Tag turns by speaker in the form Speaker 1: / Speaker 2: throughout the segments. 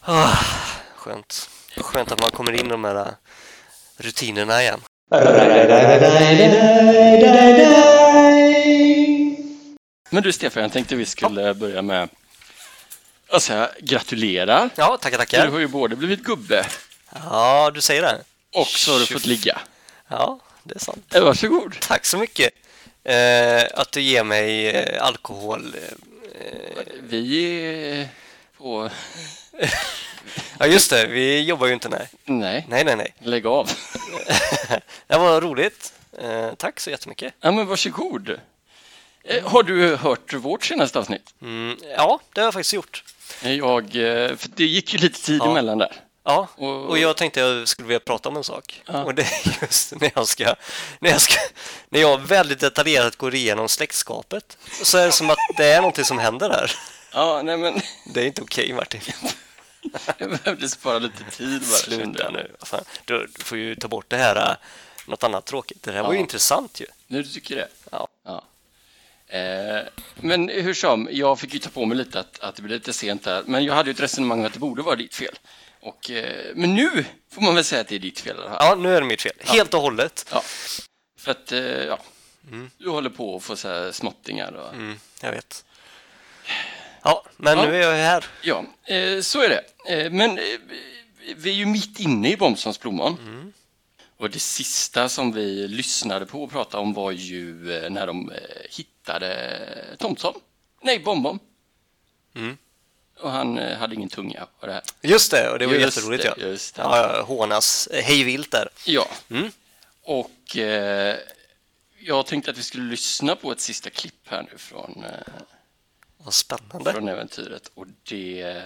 Speaker 1: Ah, skönt. Skönt att man kommer in i de här äh, rutinerna igen.
Speaker 2: Men du Stefan, jag tänkte vi skulle börja med att säga gratulerar.
Speaker 1: Ja, tackar,
Speaker 2: Du
Speaker 1: tackar.
Speaker 2: har ju både blivit gubbe
Speaker 1: Ja, du säger det.
Speaker 2: och så har du
Speaker 1: Tjugo-
Speaker 2: fått ligga.
Speaker 1: Ja, det är sant.
Speaker 2: Eh, Varsågod.
Speaker 1: Tack så mycket eh, att du ger mig eh, alkohol. Eh,
Speaker 2: Vi är på...
Speaker 1: ja, just det. Vi jobbar ju inte, nej.
Speaker 2: Nej,
Speaker 1: Nej, nej, nej.
Speaker 2: lägg av.
Speaker 1: det var roligt. Eh, tack så jättemycket.
Speaker 2: Ja, men varsågod. Eh, Har du hört vårt senaste avsnitt?
Speaker 1: Mm, ja, det har jag faktiskt gjort.
Speaker 2: Jag, eh, för det gick ju lite tid
Speaker 1: Ja.
Speaker 2: emellan där.
Speaker 1: Ja,
Speaker 2: Och-
Speaker 1: och jag tänkte jag skulle vilja prata om en sak.
Speaker 2: Ja.
Speaker 1: Och det är just när jag ska, när jag ska, när jag väldigt detaljerat går igenom släktskapet så är det som att det är någonting som händer här.
Speaker 2: Ja, nej men
Speaker 1: Det är inte okej Martin.
Speaker 2: jag behövde spara lite tid bara. kände
Speaker 1: Sluta
Speaker 2: jag.
Speaker 1: nu. Vad fan, Du, du får ju ta bort det här, äh, något annat tråkigt. Det här var ju
Speaker 2: Ja.
Speaker 1: intressant ju.
Speaker 2: Nu du tycker det?
Speaker 1: Ja.
Speaker 2: Eh, men hur som, jag fick ju ta på mig lite att, att det blev lite sent där. Men jag hade ju ett resonemang om att det borde vara ditt fel. Och, eh, men nu får man väl säga att det är ditt fel. Eller?
Speaker 1: Ja, nu är det mitt fel. Helt och hållet.
Speaker 2: Ja. För att, eh, ja. Du håller på att få så här småttingar och...
Speaker 1: Mm, jag vet. Ja, men
Speaker 2: Ja.
Speaker 1: nu är jag ju här.
Speaker 2: Ja, eh, så är det. Eh, men eh, vi- vi är ju mitt inne i Bomsons plommon.
Speaker 1: Mm.
Speaker 2: Och det sista som vi lyssnade på och pratade om var ju eh, när de eh, hittade Tomtom. Nej, Bombom.
Speaker 1: Mm.
Speaker 2: Och han eh, hade ingen tunga på det här.
Speaker 1: Just det, och det var
Speaker 2: Just
Speaker 1: jätteroligt
Speaker 2: det,
Speaker 1: ja.
Speaker 2: just det.
Speaker 1: Ja, ja, hånas eh, hej vilt där.
Speaker 2: Ja,
Speaker 1: Mm.
Speaker 2: och eh, jag tänkte att vi skulle lyssna på ett sista klipp här nu från, eh,
Speaker 1: Vad spännande.
Speaker 2: från äventyret. Och det, eh,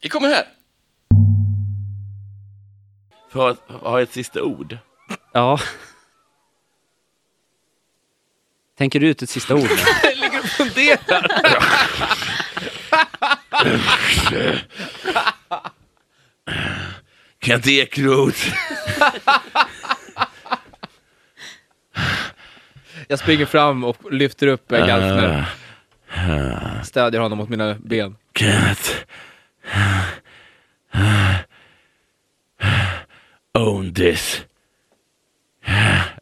Speaker 2: det kommer här.
Speaker 3: För att ha ett sista ord.
Speaker 4: Ja. Tänker du ut ett sista ord? nu?
Speaker 3: Kent Ekeroth.
Speaker 5: Jag springer fram och lyfter upp eh, Galfner.
Speaker 4: Eh.
Speaker 5: Stödjer honom mot mina ben.
Speaker 3: Kent. Own this.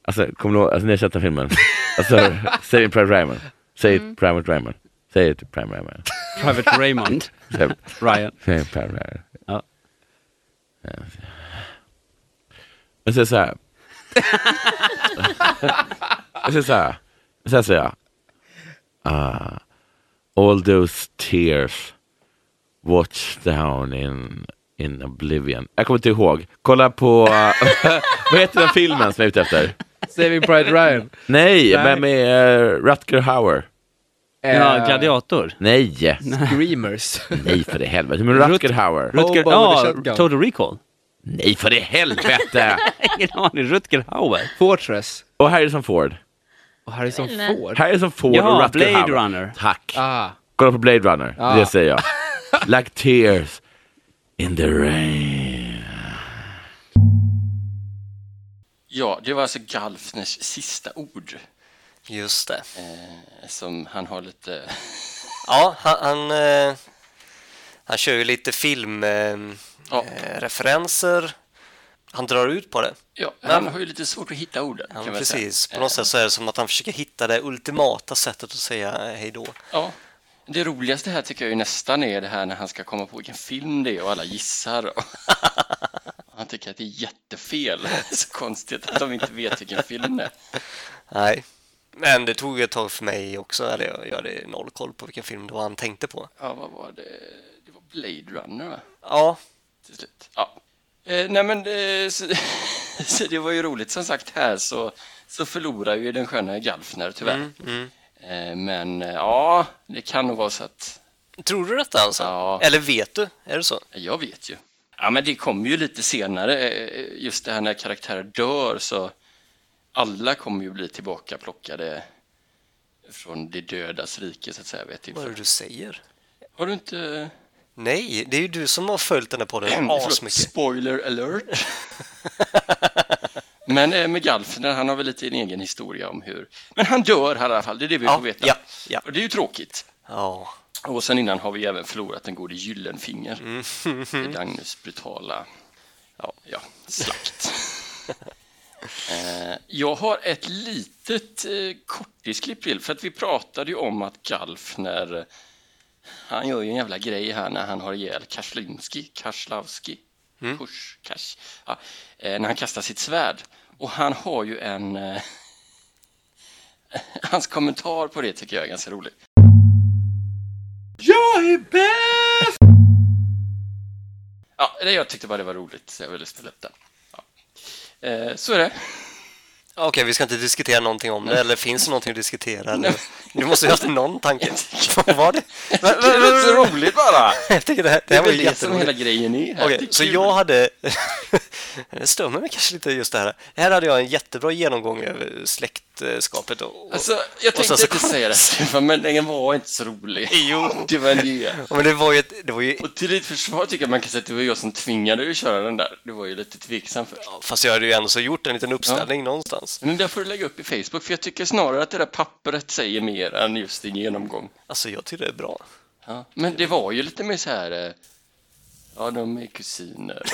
Speaker 3: Alltså, kommer du ihåg, alltså, ni har sett den filmen? Alltså, säg det Private Ryan. Säg mm. Private Ryan. Säg det till Private Ryan.
Speaker 4: Private Raymond.
Speaker 3: Säg-
Speaker 4: Ryan.
Speaker 3: Säg Private Ryan.
Speaker 4: Ja.
Speaker 3: Jag säger så här. jag säger så här. Så här säger jag. Ah, all those tears watch down in, in oblivion. Jag kommer inte ihåg. Kolla på... uh, vad heter den filmen som jag är ute efter?
Speaker 5: Saving Pride Ryan.
Speaker 3: Nej,
Speaker 5: Nej.
Speaker 3: men med eh, Rutger Hauer.
Speaker 4: Ja,
Speaker 5: Eh,
Speaker 4: Gladiator.
Speaker 3: Nej!
Speaker 5: Screamers.
Speaker 3: Nej för i helvete. Men Rutger Hauer.
Speaker 4: Rutger,
Speaker 5: Hobo with a
Speaker 4: ja,
Speaker 5: shotgun.
Speaker 4: Total Recall.
Speaker 3: Nej för i helvete!
Speaker 4: Ingen aning. Rutger Hauer.
Speaker 5: Fortress.
Speaker 3: Och Harrison Ford.
Speaker 5: Och Harrison Ford.
Speaker 3: Harrison Ford och
Speaker 4: Ja,
Speaker 3: Rutger
Speaker 4: Blade
Speaker 3: Hauer.
Speaker 4: Runner.
Speaker 3: Tack.
Speaker 5: Ah.
Speaker 3: Kolla på Blade Runner,
Speaker 5: Ah.
Speaker 3: det säger jag. like tears in the rain.
Speaker 2: Ja, det var alltså Galfners sista ord
Speaker 1: Just det.
Speaker 2: eh, som han har lite...
Speaker 1: Ja, han, han, eh, han kör ju lite filmreferenser.
Speaker 2: Ja,
Speaker 1: Eh, referenser. han drar ut på det.
Speaker 2: ja, han har ju lite svårt att hitta orden.
Speaker 1: Ja,
Speaker 2: kan man säga.
Speaker 1: precis. På något sätt så är det som att han försöker hitta det ultimata sättet att säga eh, hej då.
Speaker 2: Ja. Det roligaste här tycker jag ju nästan är det här när han ska komma på vilken film det är och alla gissar. Han tycker att det är jättefel. Så konstigt att de inte vet vilken film det är.
Speaker 1: Nej. Men det tog ju ett tag för mig också, eller jag, jag hade noll koll på vilken film det var han tänkte på.
Speaker 2: Ja, vad var det? Det var Blade Runner, va?
Speaker 1: Ja,
Speaker 2: till slut. Ja. Eh, nej men eh, så, så det var ju roligt som sagt här så, så förlorar ju den sköna Galfner tyvärr. Eh, men eh, ja, det kan nog vara så att
Speaker 1: tror du detta alltså?
Speaker 2: Ja.
Speaker 1: Eller vet du? Är det så?
Speaker 2: jag vet ju. Ja men det kommer ju lite senare eh, just det här när karaktärer dör så alla kommer ju bli tillbaka plockade från det dödas rike så att säga. Vet
Speaker 1: Vad är det
Speaker 2: jag.
Speaker 1: du säger?
Speaker 2: Har du inte...
Speaker 1: Nej, det är ju du som har följt den här podden
Speaker 2: Förlåt,
Speaker 1: asmycket.
Speaker 2: Spoiler alert. Men eh, med Galfner, han har väl lite en egen historia om hur... Men han dör här i alla fall, det är det vi
Speaker 1: Ja,
Speaker 2: får veta.
Speaker 1: ja, ja.
Speaker 2: Och det är ju tråkigt.
Speaker 1: Ja,
Speaker 2: Och sen innan har vi även förlorat den gode Gyllenfinger i Dagnes brutala ja. slakt. Eh, Jag har ett litet eh, kortisklipp till, för att vi pratade ju om att Galf när han gör ju en jävla grej här när han har ihjäl Karslinski, Karslavski, Kurs, Kars, ja, eh, när han kastar sitt svärd. Och han har ju en... eh, Hans kommentar på det tycker jag är ganska rolig. Ja, det jag tyckte bara det var roligt, så jag ville ställa upp den. Ja. Eh, så är det.
Speaker 1: Okej, vi ska inte diskutera någonting om det, eller finns det någonting att diskutera? eller? Du måste ju ha haft någon tanke. Vad var det?
Speaker 2: Det är så roligt bara!
Speaker 1: Jag tycker det här, det
Speaker 2: Det
Speaker 1: här var
Speaker 2: är
Speaker 1: ju
Speaker 2: det som hela
Speaker 1: jätteroligt.
Speaker 2: grejen är. här.
Speaker 1: Okej,
Speaker 2: Det är
Speaker 1: så
Speaker 2: kul.
Speaker 1: jag hade... det stömmer mig kanske lite just det här. Här hade jag en jättebra genomgång över släktskapet och... och...
Speaker 2: Alltså, jag
Speaker 1: sen
Speaker 2: tänkte
Speaker 1: så
Speaker 2: inte
Speaker 1: kom-
Speaker 2: säga det, Stefan, men den var inte så rolig.
Speaker 1: Jo.
Speaker 2: Det var det.
Speaker 1: Ja, Men det var ju... ett- Det var ju...
Speaker 2: Och till ditt försvar tycker jag man kan säga att det var jag som tvingade dig att köra den där. Du var ju lite tveksam först.
Speaker 1: Fast jag hade ju ändå så gjort en liten uppställning någonstans.
Speaker 2: Men det får du lägga upp i Facebook, för jag tycker snarare att det där pappret säger mer än just din genomgång.
Speaker 1: Alltså, jag tycker det är bra.
Speaker 2: Ja. Men det var ju lite mer så här... eh, Ja, de är kusiner.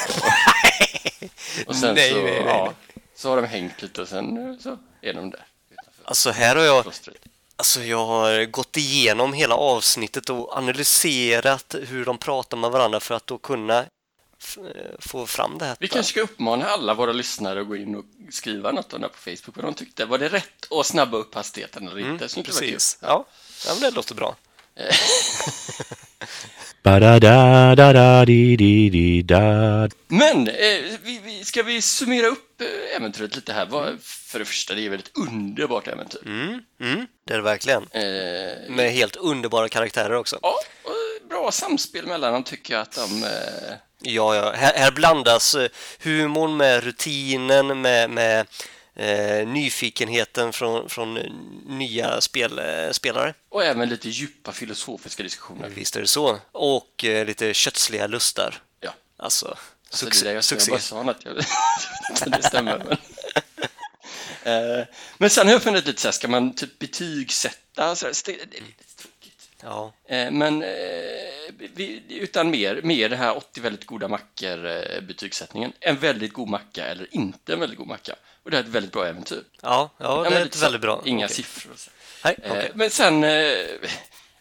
Speaker 2: och sen
Speaker 1: Nej,
Speaker 2: så,
Speaker 1: nej, nej,
Speaker 2: Ja, så har de hängt lite och sen eh, så är de där. utanför
Speaker 1: Alltså, här har jag...
Speaker 2: Klostret.
Speaker 1: Alltså jag har gått igenom hela avsnittet och analyserat hur de pratar med varandra för att då kunna f- eh, få fram det här.
Speaker 2: Vi kanske ska uppmana alla våra lyssnare att gå in och skriva något om det här på Facebook, vad de tyckte. Var det rätt att snabba upp hastigheten eller inte? Så det skulle vara kul.
Speaker 1: Mm, Precis. Ja. ja, men det låter bra.
Speaker 3: Ba-da-da-da-da-di-di-di-da.
Speaker 2: Men eh, vi, vi, ska vi summera upp eh, äventyret lite här? Vad, för det första, det är väl ett underbart äventyr.
Speaker 1: Mm. Mm. Det är det verkligen.
Speaker 2: Eh,
Speaker 1: Med helt underbara karaktärer också.
Speaker 2: ja, och bra samspel mellan dem tycker jag att de... Eh,
Speaker 1: Ja, ja. Här, här blandas eh, humorn med rutinen, med, med eh, nyfikenheten från, från eh, nya spel, eh, spelare.
Speaker 2: och även lite djupa filosofiska diskussioner.
Speaker 1: Visst är det så. Och eh, lite kötsliga lustar.
Speaker 2: Ja.
Speaker 1: Alltså,
Speaker 2: Så
Speaker 1: succé.
Speaker 2: det är det jag,
Speaker 1: succé.
Speaker 2: jag bara sa något. Jag, så det stämmer. Men, eh, men sen har jag funderat lite så här, ska man typ betygsätta? Så här, Ste- det är lite tråkigt.
Speaker 1: Ja.
Speaker 2: Eh, men eh, vi, utan mer, mer det här 80 väldigt goda mackor eh, betygsättningen. En väldigt god macka eller inte en väldigt god macka. Och det här är ett väldigt bra äventyr.
Speaker 1: Ja, ja,
Speaker 2: Ja,
Speaker 1: det
Speaker 2: men
Speaker 1: är
Speaker 2: lite
Speaker 1: ett
Speaker 2: så.
Speaker 1: väldigt bra.
Speaker 2: Inga
Speaker 1: Okej.
Speaker 2: siffror. och så.
Speaker 1: Nej,
Speaker 2: Eh,
Speaker 1: okej.
Speaker 2: Men sen, eh,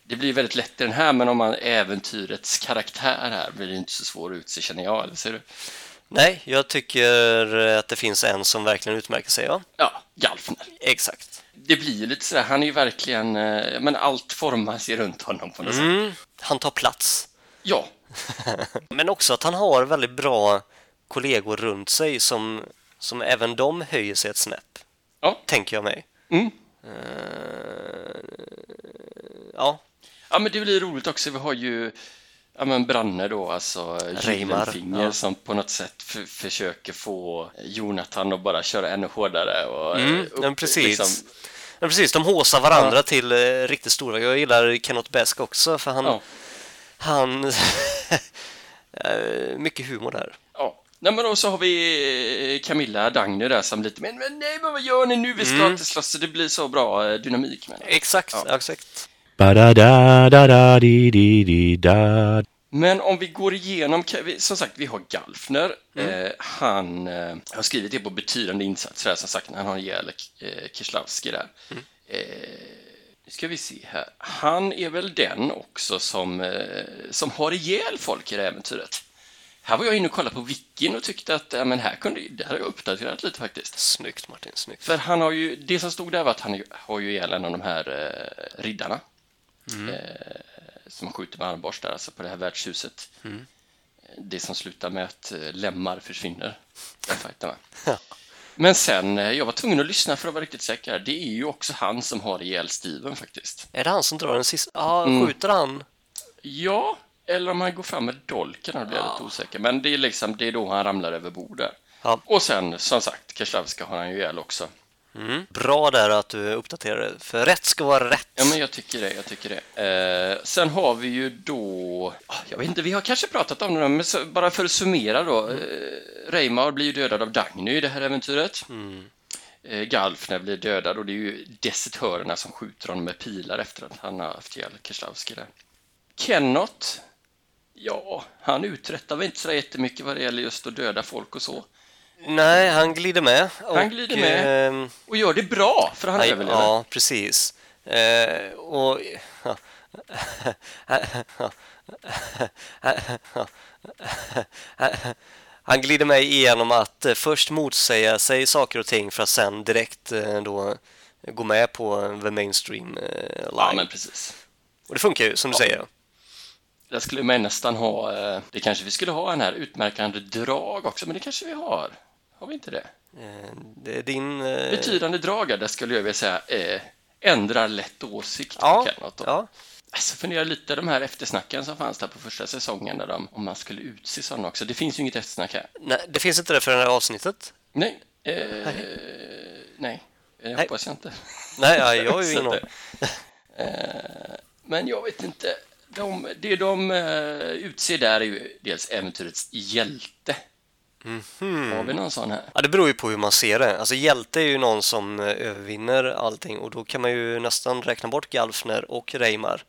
Speaker 2: det blir väldigt lätt i den här, men om man äventyrets karaktär här blir det inte så svår att utse känner jag, eller ser du?
Speaker 1: Nej, jag tycker att det finns en som verkligen utmärker sig, ja.
Speaker 2: Ja, Galfner.
Speaker 1: Exakt.
Speaker 2: Det blir ju lite sådär, han är ju verkligen, eh, men allt formas ju runt honom på något sätt.
Speaker 1: Mm, han tar plats.
Speaker 2: Ja,
Speaker 1: Men också att han har väldigt bra kollegor runt sig som, som även de höjer sig ett snäpp.
Speaker 2: Ja.
Speaker 1: Tänker jag mig.
Speaker 2: Mm.
Speaker 1: Eh, ja,
Speaker 2: Ja, men det blir roligt också. Vi har ju ja, men Branne då, alltså
Speaker 1: Reimar,
Speaker 2: Gyllenfinger
Speaker 1: ja.
Speaker 2: som på något sätt f- försöker få Jonathan att bara köra ännu hårdare. Och, eh,
Speaker 1: mm,
Speaker 2: upp-
Speaker 1: men precis.
Speaker 2: liksom-
Speaker 1: Men precis, de håsar varandra till eh, riktigt stora. Jag gillar Kenneth Besk också för han...
Speaker 2: ja,
Speaker 1: han eh, mycket humor där.
Speaker 2: ja. Nej, men och så har vi eh, Camilla Dagny där som lite, men, men nej, men vad gör ni nu? Vi ska inte slåss, så det blir så bra eh, dynamik. Men,
Speaker 1: Exakt,
Speaker 2: Ja.
Speaker 1: exakt.
Speaker 3: Ba-da-da-da-da-di-di-di-da.
Speaker 2: Men om vi går igenom, kan vi- som sagt, vi har Galfner. Eh, han eh, har skrivit det på betydande insatser här, som sagt, när han har ihjäl eh, Kislavski där. Eh, nu ska vi se här. Han är väl den också som, eh, som har ihjäl folk i det här äventyret. Här var jag inne och kollade på wikin och tyckte att ja, men här kunde, det här har jag uppdaterat lite faktiskt.
Speaker 1: Snyggt Martin, snyggt.
Speaker 2: För han har ju, det som stod där var att han ju- har ju ihjäl en av de här eh, riddarna.
Speaker 1: Mm.
Speaker 2: Eh, som skjuter med armborst där, alltså på det här värdshuset.
Speaker 1: Mm.
Speaker 2: Det som slutar med att eh, lemmar försvinner. Den fighten, va?
Speaker 1: Ja.
Speaker 2: Men sen, eh, jag var tvungen att lyssna för att vara riktigt säker. Det är ju också han som har ihjäl Steven faktiskt.
Speaker 1: Är det han som drar den sista? Ja,
Speaker 2: Mm.
Speaker 1: skjuter han?
Speaker 2: Ja, eller om han går fram med dolken, då blir jag lite osäker. Men det är liksom, det är då han ramlar över bord där.
Speaker 1: Ja.
Speaker 2: Och sen, som sagt, Keslavska har han ju ihjäl också.
Speaker 1: Mm. Bra där att du uppdaterar det, för rätt ska vara rätt.
Speaker 2: Ja, men jag tycker det. Jag tycker det. Eh, sen har vi ju då... ah, Jag vet inte, vi har kanske pratat om det, men så, bara för att summera då.
Speaker 1: Mm.
Speaker 2: Eh, Reimar blir ju dödad av Dagny i det här äventyret.
Speaker 1: Mm.
Speaker 2: Eh, Galfner blir dödad och det är ju desertörerna som skjuter honom med pilar efter att han har haft ihjäl Kerslavski där. Kennot, ja, han uträttar väl inte så där jättemycket vad det gäller just att döda folk och så.
Speaker 1: Nej, han glider med.
Speaker 2: Han glider med.
Speaker 1: ehm,
Speaker 2: Och gör det bra, för han
Speaker 1: Nej,
Speaker 2: överlever.
Speaker 1: Ja, precis. Eh, och... Han glider mig igenom att eh, först motsäga sig saker och ting för att sen direkt eh, då gå med på the mainstream eh,
Speaker 2: ja,
Speaker 1: line.
Speaker 2: men precis.
Speaker 1: Och det funkar ju, som du säger.
Speaker 2: Jag skulle man nästan ha, eh, det kanske vi skulle ha en här utmärkande drag också, men det kanske vi har. Har vi inte det?
Speaker 1: Eh, det är din... eh,
Speaker 2: Betydande drag, ja, där skulle jag vilja säga eh, ändrar lätt åsikt.
Speaker 1: Ja,
Speaker 2: kan något då.
Speaker 1: ja.
Speaker 2: Alltså funderar lite de här eftersnacken som fanns där på första säsongen, där de, om man skulle utse sådana också. Det finns ju inget eftersnack här.
Speaker 1: Nej, det finns inte det för det här avsnittet.
Speaker 2: Nej, eh, nej, jag hoppas jag inte.
Speaker 1: Nej, ja, jag har ju
Speaker 2: Så
Speaker 1: ingen
Speaker 2: att,
Speaker 1: aning.
Speaker 2: eh, Men jag vet inte. De, det de eh, utser där är ju dels äventyrets hjälte.
Speaker 1: Mhm.
Speaker 2: Har vi någon sån här?
Speaker 1: Ja, det beror ju på hur man ser det. Alltså hjälte är ju någon som eh, övervinner allting och då kan man ju nästan räkna bort Galfner och Reimar.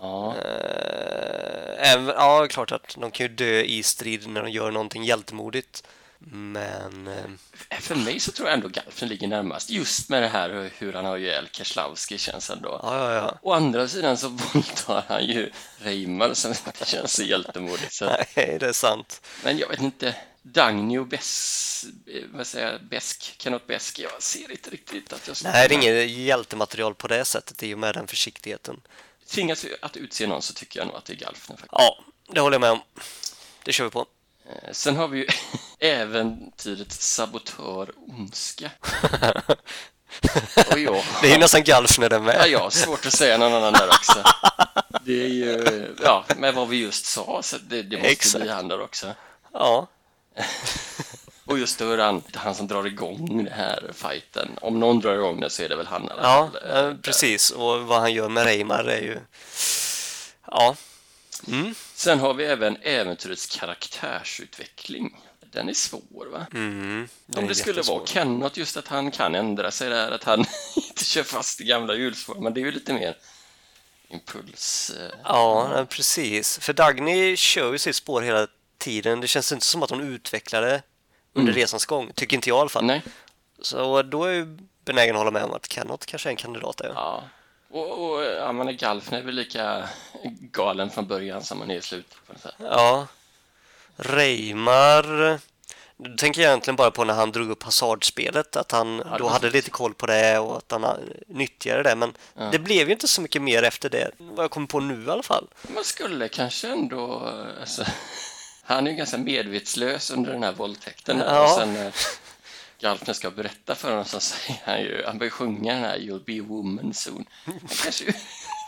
Speaker 2: Ja,
Speaker 1: Eh, även, ja, klart att de kan ju dö i strid när de gör någonting hjältemodigt. Men... Eh,
Speaker 2: för mig så tror jag ändå Galfen ligger närmast. Just med det här hur han har ju ihjäl Kerslavski känns ändå.
Speaker 1: ja, ja, ja.
Speaker 2: Å andra sidan så våldtar han ju Reimar som inte känns så hjältemodig. Så.
Speaker 1: Nej, det är sant.
Speaker 2: Men jag vet inte. Dagny och Bess, eh, vad säger jag, Besk, Kenneth Besk, jag ser inte riktigt att jag
Speaker 1: Nej, det är inget hjältematerial på det sättet i och med den försiktigheten.
Speaker 2: Tvingas vi att utse någon så tycker jag nog att det är Galfner faktiskt.
Speaker 1: Ja, det håller jag med om. Det kör vi på.
Speaker 2: Eh, Sen har vi ju äventyret Sabotör Ondska. Och jag,
Speaker 1: Det är ju nästan Galfner den
Speaker 2: ja,
Speaker 1: med.
Speaker 2: jag har svårt att säga någon annan där också. Det är ju, ja, med vad vi just sa, så det, det måste
Speaker 1: Exakt.
Speaker 2: bli han där också.
Speaker 1: Ja.
Speaker 2: Och just hur han, han som drar igång den här fighten. Om någon drar igång den så är det väl han i alla
Speaker 1: Ja,
Speaker 2: fall.
Speaker 1: eh, precis. Och vad han gör med Reimar är ju... Ja,
Speaker 2: Sen har vi även äventyrets karaktärsutveckling. Den är svår va?
Speaker 1: Mm-hmm. den
Speaker 2: Om
Speaker 1: är
Speaker 2: det skulle
Speaker 1: jättesvår.
Speaker 2: vara Kenneth, just att han kan ändra sig där, att han inte kör fast i gamla hjulspår, men det är ju lite mer impuls. eh.
Speaker 1: Ja, nej, precis. För Dagny kör ju sitt spår hela tiden. Det känns inte som att hon utvecklar det under resans gång. Tycker inte jag i alla fall.
Speaker 2: Nej.
Speaker 1: Så då är jag benägen att hålla med om att Kenneth kanske är en kandidat där. Ja.
Speaker 2: Ja. Och, och ja, man är Galfner är väl lika galen från början som man är i slutet. på något sätt.
Speaker 1: ja. Reimar... Då tänker jag egentligen bara på när han drog upp hasardspelet, att han
Speaker 2: det
Speaker 1: då
Speaker 2: var
Speaker 1: hade
Speaker 2: snyggt.
Speaker 1: lite koll på det och att han eh, nyttjade det. Men det blev ju inte så mycket mer efter det, vad jag kommer på nu i alla fall.
Speaker 2: Man skulle kanske ändå... eh, Alltså, han är ju ganska medvetslös under den här våldtäkten. där.
Speaker 1: Ja.
Speaker 2: Och sen eh, Galfner ska berätta för honom så säger han ju... Han börjar sjunga den här You'll be a woman soon. Det Kanske, kanske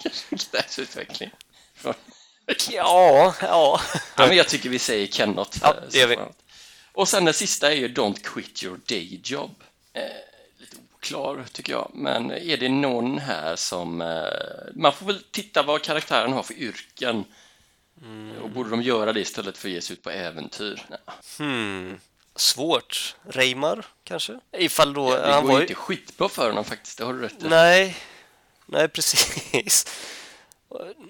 Speaker 2: är karaktärsutveckling. Från-
Speaker 1: Ja, ja.
Speaker 2: Ja, men jag tycker vi säger Kenneth.
Speaker 1: Ja,
Speaker 2: eh,
Speaker 1: det gör vi.
Speaker 2: separat. Och sen den sista är ju Don't quit your day job. Eh, lite oklar tycker jag, men är det någon här som... Eh, man får väl titta vad karaktären har för yrken.
Speaker 1: Mm.
Speaker 2: Och borde de göra det istället för att ge sig ut på äventyr? Nej, Mm.
Speaker 1: Hmm. Svårt. Reimar, kanske? Ifall då...
Speaker 2: det
Speaker 1: han
Speaker 2: går
Speaker 1: var
Speaker 2: ju
Speaker 1: ju...
Speaker 2: inte skitbra för honom faktiskt, det har du rätt i.
Speaker 1: Nej. Nej, precis.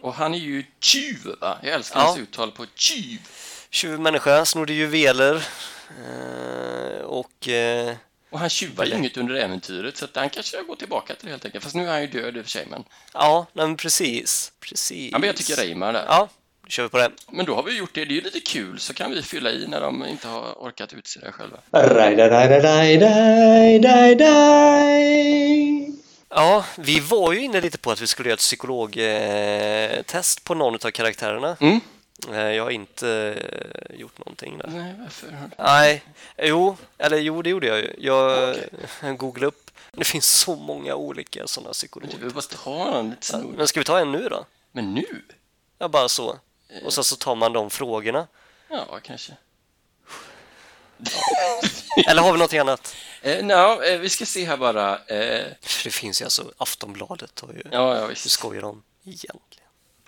Speaker 2: Och han är ju tjuv, va? Jag älskar
Speaker 1: Ja.
Speaker 2: hans uttal på tjuv.
Speaker 1: Tjuvmänniska, snodde juveler. Eh, och... Eh,
Speaker 2: Och han tjuvar ju inget under äventyret, så att han kanske går tillbaka till det helt enkelt. Fast nu är han ju död i och för sig, men...
Speaker 1: ja, nej, men precis. Precis.
Speaker 2: Ja, men jag tycker Reimar där.
Speaker 1: Ja, då kör vi på det.
Speaker 2: Men då har vi gjort det, det är ju lite kul, så kan vi fylla i när de inte har orkat utse det själva.
Speaker 1: Ja, vi var ju inne lite på att vi skulle göra ett psykologtest på någon av karaktärerna.
Speaker 2: Mm.
Speaker 1: Eh, jag har inte eh, gjort någonting där.
Speaker 2: Nej, varför? har du-
Speaker 1: Nej, jo, eller jo, det gjorde jag ju. Jag
Speaker 2: Okej.
Speaker 1: okay. googlade upp. Det finns så många olika sådana
Speaker 2: Du
Speaker 1: psykologer.
Speaker 2: behöver bara ta den lite snor.
Speaker 1: Men ska vi ta en nu då?
Speaker 2: Men nu?
Speaker 1: Ja, bara så. Och sen så tar man de frågorna.
Speaker 2: Ja, kanske.
Speaker 1: Eller har vi något annat?
Speaker 2: Eh, no, eh, vi ska se här bara. Eh,
Speaker 1: För det finns ju alltså, Aftonbladet har ju...
Speaker 2: ja, ja,
Speaker 1: Du
Speaker 2: visst.
Speaker 1: skojar om egentligen.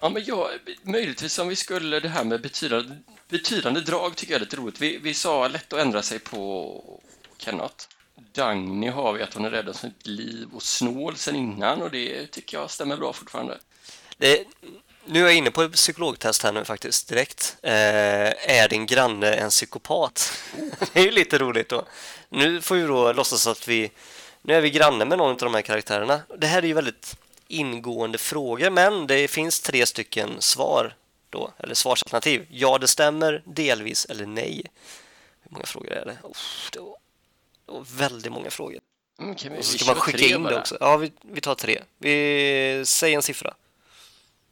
Speaker 2: Ja, men jag, möjligtvis om vi skulle det här med betydande, betydande drag tycker jag är lite roligt. Vi, vi sa lätt att ändra sig på Kenneth. Dagny har vi att hon är rädd om sitt liv och snål sen innan och det tycker jag stämmer bra fortfarande.
Speaker 1: Det, Eh, Nu är jag inne på ett psykologtest här nu faktiskt direkt. Eh, är din granne en psykopat? det är ju lite roligt då. Nu får vi då låtsas att vi... Nu är vi granne med någon av de här karaktärerna. Det här är ju väldigt ingående frågor, men det finns tre stycken svar då, eller svarsalternativ. Ja, det stämmer, delvis eller nej. Hur många frågor är det? Oh, det, var, det var väldigt många frågor.
Speaker 2: Mm, Okej, men
Speaker 1: Och så
Speaker 2: vi
Speaker 1: ska man
Speaker 2: kör
Speaker 1: skicka
Speaker 2: tre
Speaker 1: in det
Speaker 2: bara.
Speaker 1: också. Ja, vi, vi tar tre. Vi säger en siffra.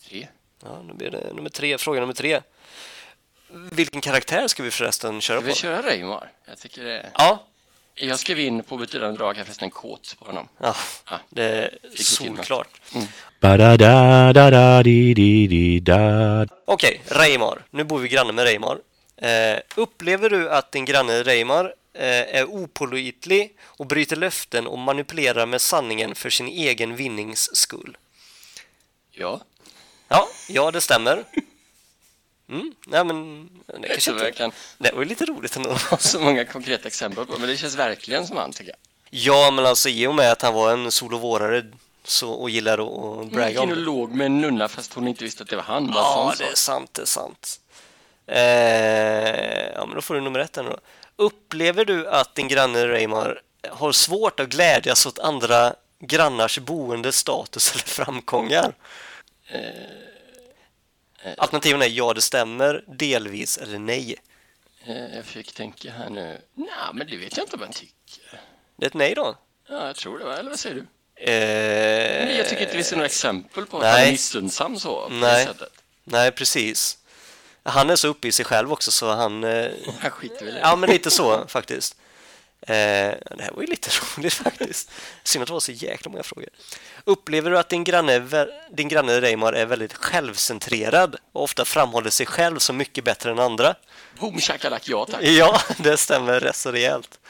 Speaker 2: Tre.
Speaker 1: Ja, nu blir det nummer tre, fråga nummer tre. Vilken karaktär ska vi förresten köra
Speaker 2: Ska
Speaker 1: på?
Speaker 2: vi köra Reimar? Jag tycker det är...
Speaker 1: Ja,
Speaker 2: Jag skrev in på betydande drag, jag fäste en kåt på honom.
Speaker 1: ja,
Speaker 2: Ja.
Speaker 1: det är
Speaker 2: Fick Mm. vi till något.
Speaker 1: solklart.
Speaker 3: Ba-da-da-da-da-di-di-di-da.
Speaker 1: Okej, Reimar. Nu bor vi granne med Reimar. Eh, upplever du att din granne Reimar eh, är opålitlig och bryter löften och manipulerar med sanningen för sin egen vinnings skull?
Speaker 2: Ja,
Speaker 1: Ja, ja det stämmer. Mm, nej men det kanske
Speaker 2: så jag
Speaker 1: inte...
Speaker 2: kan
Speaker 1: Det var ju lite roligt ändå.
Speaker 2: ha så många konkreta exempel på, men det känns verkligen som han tycker jag.
Speaker 1: Ja, men alltså i och med att han var en solovårare så, och gillar att att
Speaker 2: Hon gick
Speaker 1: bragga om
Speaker 2: in och
Speaker 1: det.
Speaker 2: låg med en nunna fast hon inte visste att det var han. Bara
Speaker 1: Ja,
Speaker 2: sån
Speaker 1: det är
Speaker 2: sak.
Speaker 1: sant, det är sant. Eh, ja, men då får du nummer ett här nu då. Upplever du att din granne Reimar har svårt att glädjas åt andra grannars boende, status eller framgångar? Eh, Alternativen är ja, det stämmer, delvis eller nej.
Speaker 2: Eh, Jag fick tänka här nu. Nej, men det vet jag inte vad han tycker.
Speaker 1: Det är ett nej då.
Speaker 2: Ja, jag tror det, va? eller vad säger du?
Speaker 1: Eh,
Speaker 2: Nej, jag tycker inte det finns några exempel på att
Speaker 1: nej.
Speaker 2: han är missunnsam så. På
Speaker 1: Nej.
Speaker 2: Det sättet.
Speaker 1: Nej, precis. Han är så uppe i sig själv också så han... Eh,
Speaker 2: Han skiter väl i det.
Speaker 1: ja, men lite så faktiskt. Eh, det här var ju lite roligt faktiskt. Synd att det var så jäkla många frågor. Upplever du att din granne, är vä- din granne Reimar är väldigt självcentrerad och ofta framhåller sig själv som mycket bättre än andra?
Speaker 2: Boom shakalak, ja tack.
Speaker 1: Ja, det stämmer rätt så rejält.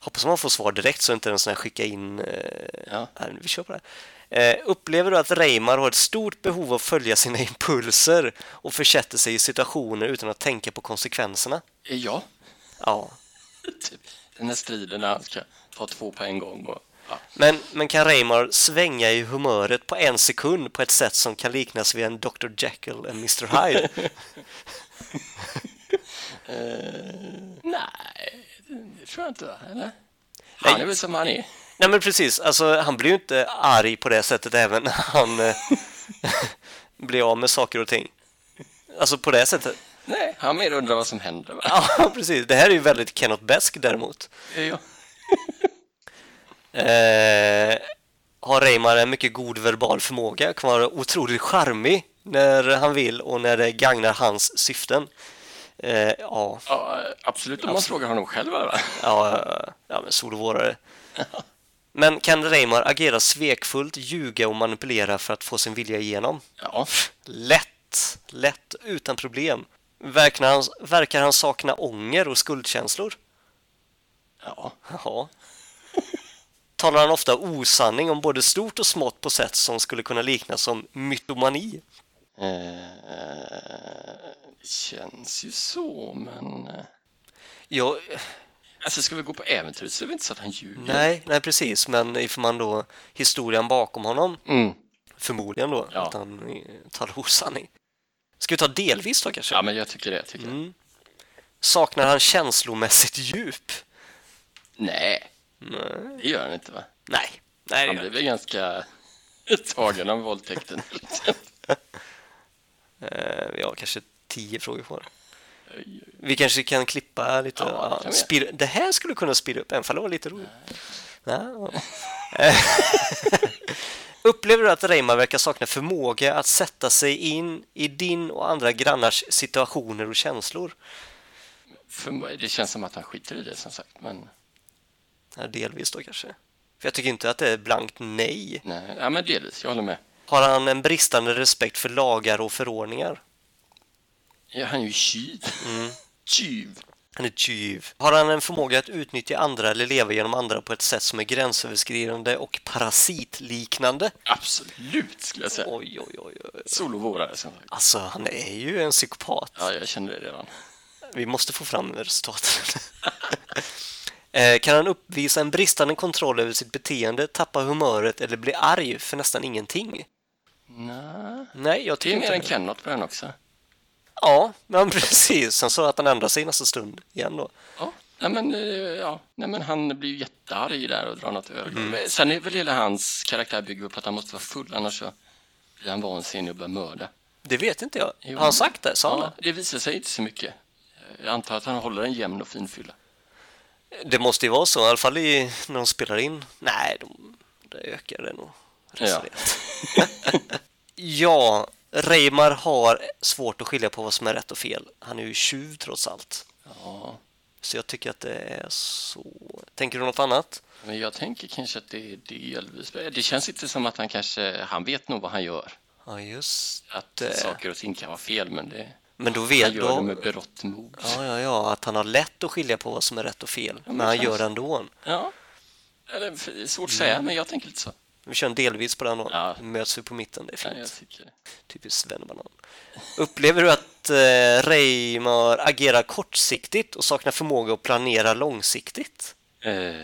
Speaker 1: Hoppas man får svar direkt så inte en sån här skicka in... Eh,
Speaker 2: Ja.
Speaker 1: nej, vi kör på det här. Eh, upplever du att Reimar har ett stort behov av att följa sina impulser och försätter sig i situationer utan att tänka på konsekvenserna?
Speaker 2: Eh, Ja,
Speaker 1: Ja.
Speaker 2: typ. Den här striden när han ska ta två på en gång. Och, ja.
Speaker 1: Men, men kan Reimar svänga i humöret på en sekund på ett sätt som kan liknas vid en Dr. Jekyll och Mr. Hyde?
Speaker 2: Nej, det tror jag inte. va? Eller? Han är väl som han är.
Speaker 1: Nej men precis, alltså han blir ju inte arg på det sättet även när han eh, blir av med saker och ting. Alltså på det sättet.
Speaker 2: Nej, han mer undrar vad som händer. Va?
Speaker 1: Ja, precis. Det här är ju väldigt Kenneth Besk däremot.
Speaker 2: Eh, Ja.
Speaker 1: Eh, har Reimar en mycket god verbal förmåga, kan vara otroligt charmig när han vill och när det gagnar hans syften. Eh, ja,
Speaker 2: Ja, absolut, om man frågar honom själv. Va?
Speaker 1: ja, ja, men solovårare. Men kan Reimar agera svekfullt, ljuga och manipulera för att få sin vilja igenom?
Speaker 2: Ja.
Speaker 1: Lätt, lätt, utan problem. Verkar han, verkar han sakna ånger och skuldkänslor?
Speaker 2: ja.
Speaker 1: Jaha. Talar han ofta osanning om både stort och smått på sätt som skulle kunna liknas som mytomani?
Speaker 2: Eh, känns ju så, men... eh,
Speaker 1: Ja,
Speaker 2: Alltså, ska vi gå på äventyr så är det inte så att han ljuger.
Speaker 1: nej, nej precis, men ifall man då historien bakom honom,
Speaker 2: Mm.
Speaker 1: förmodligen då,
Speaker 2: Ja.
Speaker 1: att han eh, talar osanning. Ska vi ta delvis då kanske?
Speaker 2: Ja, men jag tycker det. Jag tycker det.
Speaker 1: Mm. Saknar han känslomässigt djup?
Speaker 2: Nej,
Speaker 1: Nej.
Speaker 2: det gör han inte, va?
Speaker 1: Nej, nej det
Speaker 2: Han
Speaker 1: gör
Speaker 2: blev väl ganska tagen av våldtäkten.
Speaker 1: Eh, Vi har kanske tio frågor kvar. Vi kanske kan klippa lite.
Speaker 2: Ja, det
Speaker 1: Ja,
Speaker 2: kan vi
Speaker 1: spir- det här skulle kunna spira upp en, för det var lite roligt. Ja. Upplever du att Reimar verkar sakna förmåga att sätta sig in i din och andra grannars situationer och känslor?
Speaker 2: För mig- det känns som att han skiter i det, som sagt. Men,
Speaker 1: Ja, delvis då kanske. För jag tycker inte att det är blankt nej.
Speaker 2: nej. Ja, men delvis. Jag håller med.
Speaker 1: Har han en bristande respekt för lagar och förordningar?
Speaker 2: Ja, han är ju tjuv. Tjuv.
Speaker 1: Han är tjuv. Har han en förmåga att utnyttja andra eller leva genom andra på ett sätt som är gränsöverskridande och parasitliknande?
Speaker 2: Absolut, skulle jag säga.
Speaker 1: Oj, oj, oj. oj.
Speaker 2: Solovårare, som sagt.
Speaker 1: Alltså, han är ju en psykopat.
Speaker 2: Ja, jag känner det redan.
Speaker 1: Vi måste få fram resultaten. Eh, kan han uppvisa en bristande kontroll över sitt beteende, tappa humöret eller bli arg för nästan ingenting?
Speaker 2: Nej.
Speaker 1: Nej, jag
Speaker 2: Det
Speaker 1: tycker
Speaker 2: är mer
Speaker 1: inte
Speaker 2: än
Speaker 1: det.
Speaker 2: Kennot på den också.
Speaker 1: Ja, men precis. Sen så att han ändrar sig i nästa stund igen då.
Speaker 2: Ja, nej men, eh, ja. Nej, men han blir ju jättearg där och drar något öl. Men Sen är väl hela hans karaktär bygger på att han måste vara full, annars så blir han vansinnig och börjar mörda.
Speaker 1: Det vet inte jag.
Speaker 2: Jo.
Speaker 1: Har han sagt det? Sa han
Speaker 2: Ja,
Speaker 1: det?
Speaker 2: det visar sig inte så mycket. Jag antar att han håller en jämn och fin fylla.
Speaker 1: Det måste ju vara så, i alla fall i, när de spelar in. Nej, de, det ökar det nog.
Speaker 2: Ja.
Speaker 1: ja, Reimar har svårt att skilja på vad som är rätt och fel. Han är ju tjuv trots allt.
Speaker 2: ja.
Speaker 1: Så jag tycker att det är så. Tänker du något annat?
Speaker 2: Men jag tänker kanske att det är delvis... Det känns inte som att han kanske... Han vet nog vad han gör.
Speaker 1: Ja, just
Speaker 2: Att eh,
Speaker 1: det.
Speaker 2: saker och ting kan vara fel, men det...
Speaker 1: Men då
Speaker 2: Han
Speaker 1: vet
Speaker 2: gör det
Speaker 1: de...
Speaker 2: med berått mod.
Speaker 1: Ja, ja, ja, att han har lätt att skilja på vad som är rätt och fel.
Speaker 2: men
Speaker 1: men han
Speaker 2: kanske.
Speaker 1: gör det ändå.
Speaker 2: Ja. Eller, f- svårt att säga, men jag tänker lite så.
Speaker 1: Vi kör en delvis på den då.
Speaker 2: Ja.
Speaker 1: Möts vi på mitten, det är fint.
Speaker 2: Nej, jag tycker det.
Speaker 1: Typiskt typ svennebanan. Upplever du att eh, Reimar agerar kortsiktigt och saknar förmåga att planera långsiktigt?
Speaker 2: Eh,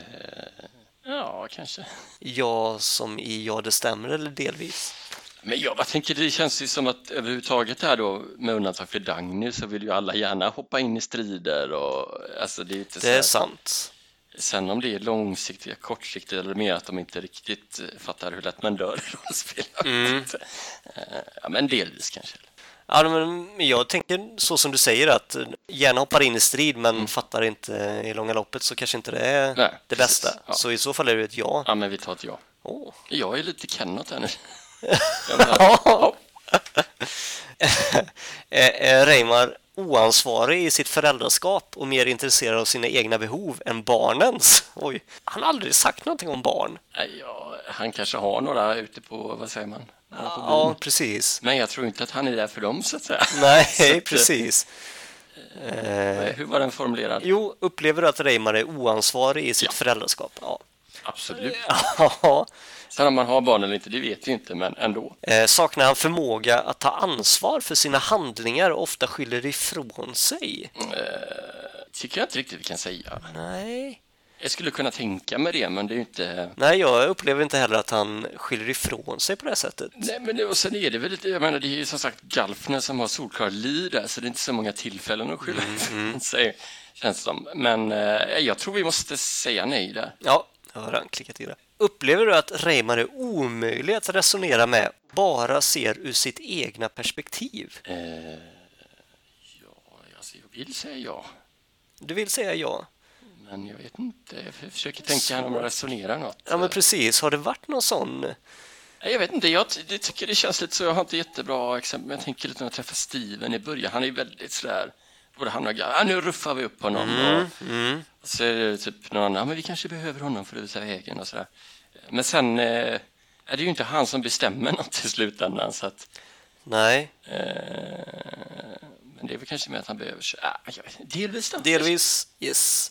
Speaker 2: ja, kanske.
Speaker 1: Ja, som i Ja, det stämmer eller delvis?
Speaker 2: Men jag bara tänker, det känns ju som att överhuvudtaget här då, med undantag för Dagny, så vill ju alla gärna hoppa in i strider och alltså det är inte så
Speaker 1: Det är
Speaker 2: här-
Speaker 1: sant.
Speaker 2: Sen om det är långsiktiga, kortsiktiga eller mer att de inte riktigt eh, fattar hur lätt man dör i rollspel. Mm. Ja, men delvis kanske.
Speaker 1: Ja, men jag tänker så som du säger att eh, gärna hoppar in i strid men fattar inte i långa loppet så kanske inte det är
Speaker 2: Mm. Nej,
Speaker 1: det
Speaker 2: precis.
Speaker 1: bästa.
Speaker 2: Ja.
Speaker 1: Så i så fall är det ett ja.
Speaker 2: Ja, men vi tar ett ja.
Speaker 1: Åh.
Speaker 2: Jag är lite Kenneth här nu. Jag bara,
Speaker 1: Eh, eh, Reimar oansvarig i sitt föräldraskap och mer intresserad av sina egna behov än barnens. Oj, han har aldrig sagt någonting om barn.
Speaker 2: nej, ja, han kanske har några ute på, vad säger man? Några på byn.
Speaker 1: Ja, precis.
Speaker 2: Men jag tror inte att han är där för dem så att säga. Så att,
Speaker 1: Mm. Nej,
Speaker 2: eh,
Speaker 1: precis. Eh,
Speaker 2: Hur var den formulerad?
Speaker 1: jo, upplever du att Reimar är oansvarig i sitt
Speaker 2: Ja.
Speaker 1: föräldraskap? Ja.
Speaker 2: Absolut.
Speaker 1: Ja.
Speaker 2: Sen om man har barn eller inte, det vet vi inte, men ändå.
Speaker 1: Eh, saknar han förmåga att ta ansvar för sina handlingar och ofta skyller ifrån sig?
Speaker 2: Tycker jag inte riktigt vi kan säga.
Speaker 1: Nej.
Speaker 2: Jag skulle kunna tänka mig det, men det är ju inte...
Speaker 1: Nej, jag upplever inte heller att han skyller ifrån sig på det här sättet.
Speaker 2: Nej, men det, och sen är det väl lite, jag menar det är ju som sagt Galfner som har solklara lir där, så det är inte så många tillfällen att skylla
Speaker 1: Mm,
Speaker 2: ifrån sig, känns det som. Men eh, jag tror vi måste säga nej där.
Speaker 1: Ja, jag har redan klickat i det. Upplever du att Reimar är omöjlig att resonera med, bara ser ur sitt egna perspektiv?
Speaker 2: Eh, ja, alltså, jag vill säga ja,
Speaker 1: Du vill säga ja?
Speaker 2: men jag vet inte. Jag försöker tänka här om jag resonerar något.
Speaker 1: Ja, men precis. Har det varit någon sån?
Speaker 2: Nej, Jag vet inte, jag ty- det tycker det känns lite så. Jag har inte jättebra exempel, men jag tänker lite när jag träffar Steven i början. Han är ju väldigt sådär, både han och jag, ah, nu ruffar vi upp honom.
Speaker 1: Mm,
Speaker 2: och, och så är det typ någon annan, ah, men vi kanske behöver honom för att visa vägen och sådär. Men sen eh, är det ju inte han som bestämmer något i slutändan. Så att,
Speaker 1: Nej,
Speaker 2: eh, men det är väl kanske mer att han behöver, sig- ah, jag vet, inte. delvis då.
Speaker 1: delvis. Yes.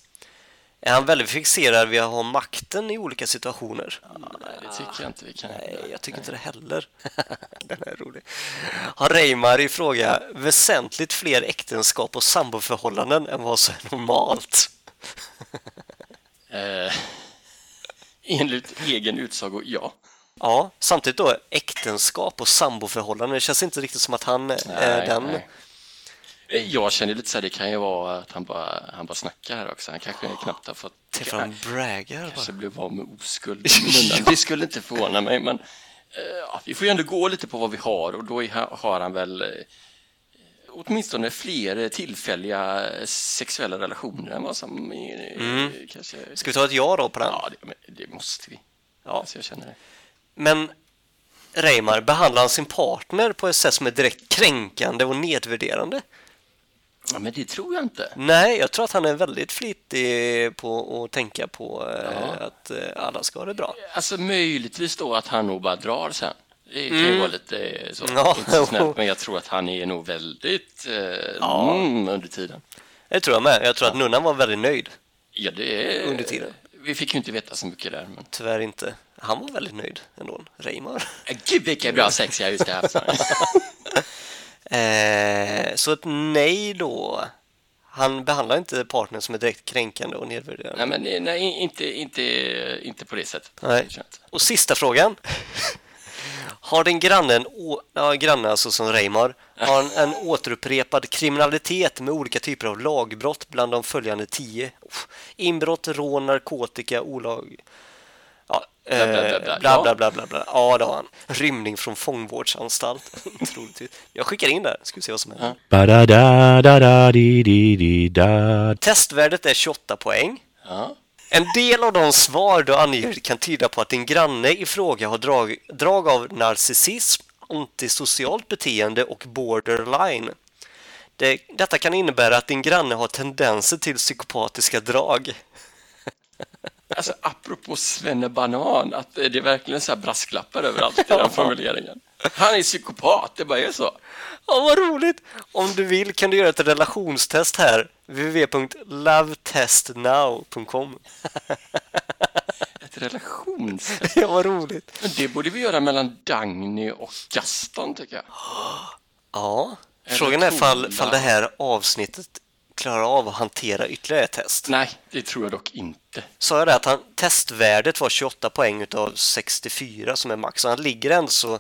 Speaker 1: Är han väldigt fixerad vid att ha makten i olika situationer?
Speaker 2: Nej, det tycker jag inte vi kan.
Speaker 1: Nej, jag tycker inte det heller. Den är rolig. Har Reimar i fråga väsentligt fler äktenskap och samboförhållanden än vad som är normalt?
Speaker 2: Eh, enligt egen utsago, ja.
Speaker 1: Ja, samtidigt då äktenskap och samboförhållanden. Det känns inte riktigt som att han är Eh, den.
Speaker 2: Eh, Jag känner lite så här, det kan ju vara att han bara, han bara snackar här också. Han kanske knappt har fått...
Speaker 1: Till för han braggar bara.
Speaker 2: Kanske blev av med oskuld. Men Det skulle inte förvåna mig, men eh, ja, vi får ju ändå gå lite på vad vi har och då är, ha- har han väl eh, åtminstone fler eh, tillfälliga eh, sexuella relationer än vad som är,
Speaker 1: Mm.
Speaker 2: eh, kanske...
Speaker 1: Ska vi ta ett ja då på den?
Speaker 2: Ja, det, men det måste vi.
Speaker 1: Ja.
Speaker 2: Alltså, jag känner det.
Speaker 1: Men Reimar, behandlar han sin partner på ett sätt som är direkt kränkande och nedvärderande?
Speaker 2: Ja, men det tror jag inte.
Speaker 1: Nej, jag tror att han är väldigt flitig på att tänka på eh, att eh, alla ska ha det bra.
Speaker 2: Alltså möjligtvis då att han nog bara drar sen. Det kan ju vara lite eh, så,
Speaker 1: Mm. Ja.
Speaker 2: inte så snällt, men jag tror att han är nog väldigt eh, mm, under tiden.
Speaker 1: Det tror jag med. Jag tror att nunnan var väldigt nöjd.
Speaker 2: Ja, det är...
Speaker 1: Under tiden.
Speaker 2: Vi fick ju inte veta så mycket där, men...
Speaker 1: Tyvärr inte. Han var väldigt nöjd ändå, Reimar.
Speaker 2: Äh, Gud, vilket bra sex jag just har haft! sa han.
Speaker 1: Eh, så ett nej då. Han behandlar inte partnern som är direkt kränkande och nedvärderande.
Speaker 2: nej, men eh, nej, inte, inte, inte på det sättet.
Speaker 1: Nej.
Speaker 2: Det tror jag inte.
Speaker 1: Och sista frågan. Har din granne, en å- ja, granne alltså som Reimar, har en, en återupprepad kriminalitet med olika typer av lagbrott bland de följande tio? Uff. Inbrott, rån, narkotika, olag... Ja, eh,
Speaker 2: bla, bla, bla.
Speaker 1: bla, bla, bla, bla, bla. Ja, det har han. Rymning från fångvårdsanstalt. Troligtvis. Jag skickar in det här, ska vi se vad som händer.
Speaker 3: Ba-da-da-da-da-di-di-di-da.
Speaker 1: Testvärdet är 28 poäng.
Speaker 2: Ja.
Speaker 1: En del av de svar du anger kan tyda på att din granne i fråga har drag, drag av narcissism, antisocialt beteende och borderline. Det, detta kan innebära att din granne har tendenser till psykopatiska drag.
Speaker 2: Alltså apropå Banan, att eh, det är verkligen så här brasklappar överallt i den formuleringen. Han är psykopat, det bara är så.
Speaker 1: Ja, vad roligt! Om du vill kan du göra ett relationstest här. www.lovetestnow.com
Speaker 2: Ett relations...
Speaker 1: Ja, vad roligt!
Speaker 2: Men det borde vi göra mellan Dagny och Gaston, tycker jag.
Speaker 1: Ja,
Speaker 2: Eller
Speaker 1: frågan är fall,
Speaker 2: coola.
Speaker 1: fall det här avsnittet klarar av att hantera ytterligare ett test.
Speaker 2: Nej, det tror jag dock inte.
Speaker 1: sa jag det att han, testvärdet var 28 poäng utav 64 som är max. Så han ligger ändå så...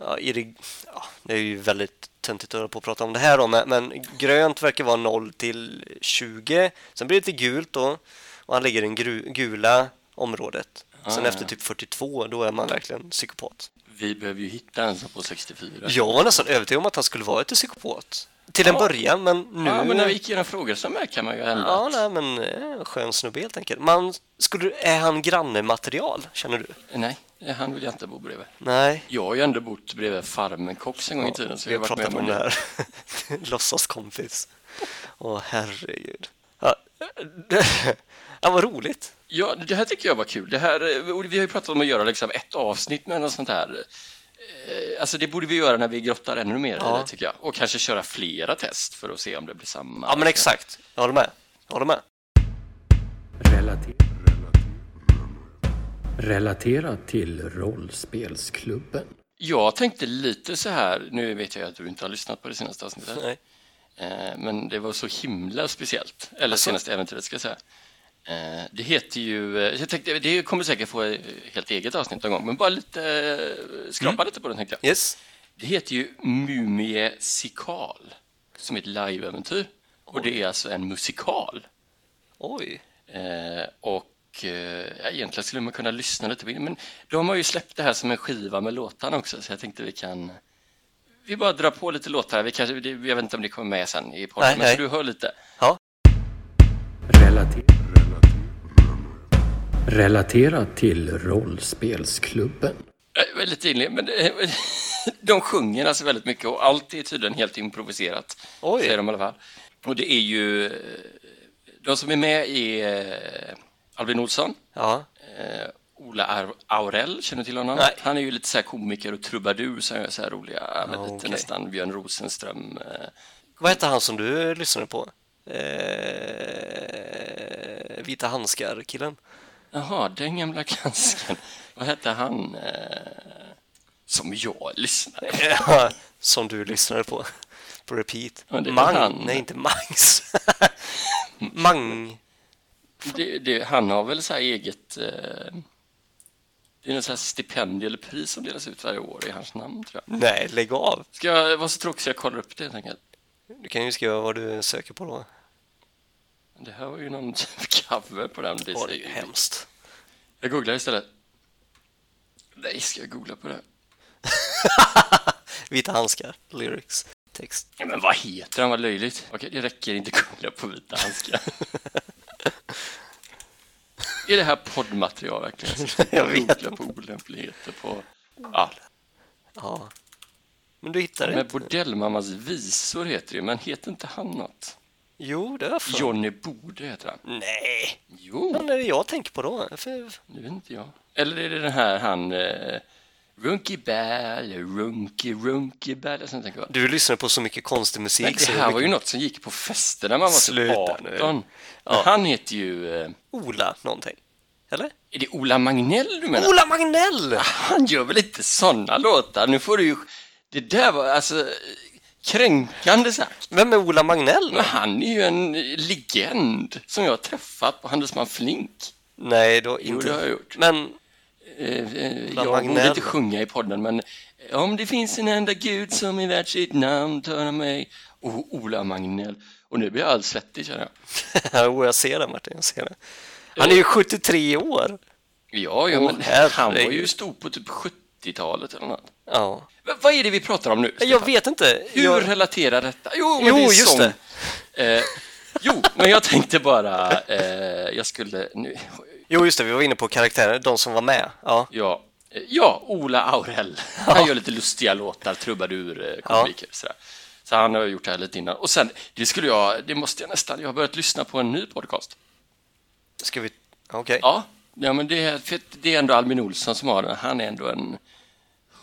Speaker 1: Ja, i det, ja, det är ju väldigt töntigt att hålla på och prata om det här då, men, men grönt verkar vara 0 till 20. Sen blir det lite gult då och han ligger i det gru- gula området.
Speaker 2: Ah,
Speaker 1: Sen efter typ 42, då är man verkligen psykopat.
Speaker 2: Vi behöver ju hitta en som på 64.
Speaker 1: Jag var nästan övertygad om att han skulle vara ett psykopat. Till en
Speaker 2: Ja.
Speaker 1: början, men nu...
Speaker 2: Ah. Ja, men när vi gick igenom frågor så här kan man ju ändra.
Speaker 1: Ja, nej, men eh, skön snubbe helt enkelt. Man, skulle, är han grannematerial, känner du?
Speaker 2: Nej, han vill jag inte bo bredvid.
Speaker 1: Nej,
Speaker 2: Jag har ju ändå bott bredvid farmen Cox en gång i tiden, så
Speaker 1: vi
Speaker 2: jag
Speaker 1: har
Speaker 2: har varit
Speaker 1: pratat
Speaker 2: med
Speaker 1: om
Speaker 2: om
Speaker 1: det
Speaker 2: det.
Speaker 1: här. Låtsaskompis. Åh, herregud. Ja, ja, vad roligt.
Speaker 2: Ja, det här tycker jag var kul. Det här, eh, och vi har ju pratat om att göra liksom ett avsnitt med något sånt här. Eh, Alltså det borde vi göra när vi grottar ännu mer i
Speaker 1: Ja.
Speaker 2: det, tycker jag. Och kanske köra flera test för att se om det blir samma.
Speaker 1: Ja, men exakt. Jag håller med. Jag håller med.
Speaker 6: Relaterat till rollspelsklubben.
Speaker 2: Jag tänkte lite så här, nu vet jag att du inte har lyssnat på det senaste avsnittet.
Speaker 1: Nej.
Speaker 2: Eh, Men det var så himla speciellt. Eller
Speaker 1: Alltså-
Speaker 2: senaste äventyret ska jag säga. Eh, Det heter ju, eh, jag tänkte, det kommer säkert få eh, helt eget avsnitt någon gång, men bara lite, eh, skrapa
Speaker 1: Mm.
Speaker 2: lite på den tänkte jag.
Speaker 1: Yes.
Speaker 2: Det heter ju Mumie Sikal, som är ett liveäventyr. Och det är alltså en musikal.
Speaker 1: Oj.
Speaker 2: Eh, och eh, ja, egentligen skulle man kunna lyssna lite på det, men de har ju släppt det här som en skiva med låtarna också, så jag tänkte vi kan... Vi bara drar på lite låtar, vi kanske, det- jag vet inte om det kommer med sen i podden,
Speaker 1: Nej,
Speaker 2: men
Speaker 1: nej.
Speaker 2: så du hör lite.
Speaker 6: Relater- Relaterat till rollspelsklubben.
Speaker 2: Eh, Väldigt inlig, men eh, de sjunger alltså väldigt mycket och allt är tydligen helt improviserat.
Speaker 1: Oj.
Speaker 2: Säger de i alla fall. Och det är ju... eh, De som är med är eh, Albin Olsson,
Speaker 1: Ja.
Speaker 2: eh, Ola Ar- Aurell, känner du till honom?
Speaker 1: Nej. Ah,
Speaker 2: Han är ju lite så här komiker och trubadur som gör så här roliga, med lite
Speaker 1: okej.
Speaker 2: nästan Björn Rosenström. eh.
Speaker 1: Vad hette han som du lyssnade på? Eh, Vita handskar-killen?
Speaker 2: Jaha, den gamla kansken. Vad hette han? eh, Som jag lyssnade på.
Speaker 1: Ja, som du lyssnade på. På repeat.
Speaker 2: Ja, det är
Speaker 1: Mang.
Speaker 2: han.
Speaker 1: Nej, inte Mangs. Mang.
Speaker 2: Det, det, han har väl så här eget... Eh, det är något så här stipendium eller pris som delas ut varje år i hans namn, tror jag.
Speaker 1: Nej, lägg av.
Speaker 2: Ska jag vara så tråkig så jag kollar upp det, helt enkelt?
Speaker 1: Du kan ju skriva vad du söker på då.
Speaker 2: Det här var ju någon typ cover på den.
Speaker 1: Åh, det är
Speaker 2: visningen.
Speaker 1: ju hemskt.
Speaker 2: Jag googlar istället. Nej, ska jag googla på det?
Speaker 1: Vita handskar, lyrics, text.
Speaker 2: Ja, men vad heter han? Vad löjligt. Okej, det räcker inte googla på vita handskar. är det här poddmaterial verkligen?
Speaker 1: Jag vet
Speaker 2: Googla på olämpligheter på... Ja,
Speaker 1: Ja. Men du hittar det
Speaker 2: men
Speaker 1: inte?
Speaker 2: Bordellmammas visor heter det, men heter inte han något?
Speaker 1: Jo, det har jag för
Speaker 2: Johnny Bode heter han.
Speaker 1: Nej,
Speaker 2: Jo,
Speaker 1: vad är det jag tänker på då? För...
Speaker 2: det vet inte jag. Eller är det den här han... Eh, Runky Bell, Runky Runky Bell, jag tänker på.
Speaker 1: Du lyssnar på så mycket konstig musik.
Speaker 2: Nej, det
Speaker 1: så
Speaker 2: här var ju
Speaker 1: mycket-
Speaker 2: något som gick på fester när man var typ
Speaker 1: Sluta
Speaker 2: 18.
Speaker 1: nu.
Speaker 2: Men Han heter ju... Eh,
Speaker 1: Ola någonting. Eller?
Speaker 2: är det Ola Magnell du menar? Ah,
Speaker 1: Ola Magnell!
Speaker 2: Han gör väl inte sådana låtar? Nu får du ju... Det där var alltså eh, kränkande sagt.
Speaker 1: Vem är Ola Magnell?
Speaker 2: Men han är ju en eh, legend som jag har träffat på Handelsman Flink.
Speaker 1: Nej, då
Speaker 2: Jo,
Speaker 1: inte.
Speaker 2: det har jag gjort.
Speaker 1: Men
Speaker 2: eh, eh,
Speaker 1: Bland
Speaker 2: jag borde
Speaker 1: Magnell.
Speaker 2: inte sjunga i podden, men eh, om det finns en enda gud som är värd sitt namn, tar han mig. Och Ola Magnell. Och nu blir jag alldeles svettig känner jag.
Speaker 1: Jo, jag ser det Martin, jag ser det. Han är ju 73 år!
Speaker 2: Ja, ja
Speaker 1: Åh,
Speaker 2: men han var ju
Speaker 1: herregud.
Speaker 2: stor på typ 70-talet eller något.
Speaker 1: Ja.
Speaker 2: V- vad är det vi pratar om nu?
Speaker 1: Jag vet inte.
Speaker 2: Hur
Speaker 1: Jag...
Speaker 2: relaterar detta? Jo, men
Speaker 1: Jo,
Speaker 2: det är
Speaker 1: just
Speaker 2: sång. Eh, jo, men jag tänkte bara, eh, jag skulle nu,
Speaker 1: Jo, just det, vi var inne på karaktärer, de som var med. Ja.
Speaker 2: ja, eh, ja, Ola Aurell. Han gör lite lustiga låtar, trubadur, komiker, sådär. Så han har gjort det här lite innan. Och sen, det skulle jag, det måste jag nästan, jag har börjat lyssna på en ny podcast.
Speaker 1: Ska vi... Okej.
Speaker 2: Ja, ja men det, är- för att det är ändå Albin Olsson som har den. Han är ändå en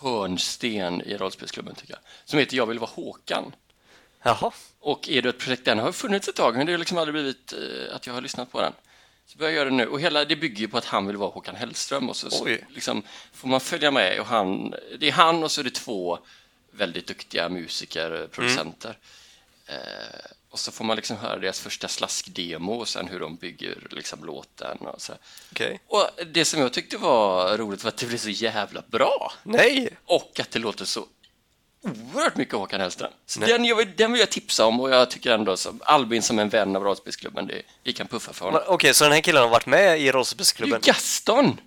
Speaker 2: hörnsten i rollspelsklubben tycker jag. Som heter Jag vill vara Håkan.
Speaker 1: Jaha.
Speaker 2: Och är det ett projekt, den har funnits ett tag men det har liksom aldrig blivit eh, att jag har lyssnat på den. Så börjar jag göra det nu och hela det bygger ju på att han vill vara Håkan Hellström och så, så
Speaker 1: Oj.
Speaker 2: liksom, får man följa med och han, det är han och så är det två väldigt duktiga musiker, eh, producenter. Eh, och så får man liksom höra deras första slaskdemo och sen hur de bygger liksom låten och så.
Speaker 1: Okej.
Speaker 2: Och det som jag tyckte var roligt var att det blev så jävla bra
Speaker 1: Nej!
Speaker 2: och att det låter så oerhört mycket Håkan Hellström. Så den, jag, vill- den vill jag tipsa om och jag tycker ändå som Albin som en vän av rollspelsklubben, det- vi kan puffa för
Speaker 1: Men
Speaker 2: honom.
Speaker 1: Okej, så den här killen har varit med i
Speaker 2: Det är ju
Speaker 1: rollspelsklubben?
Speaker 2: Gaston!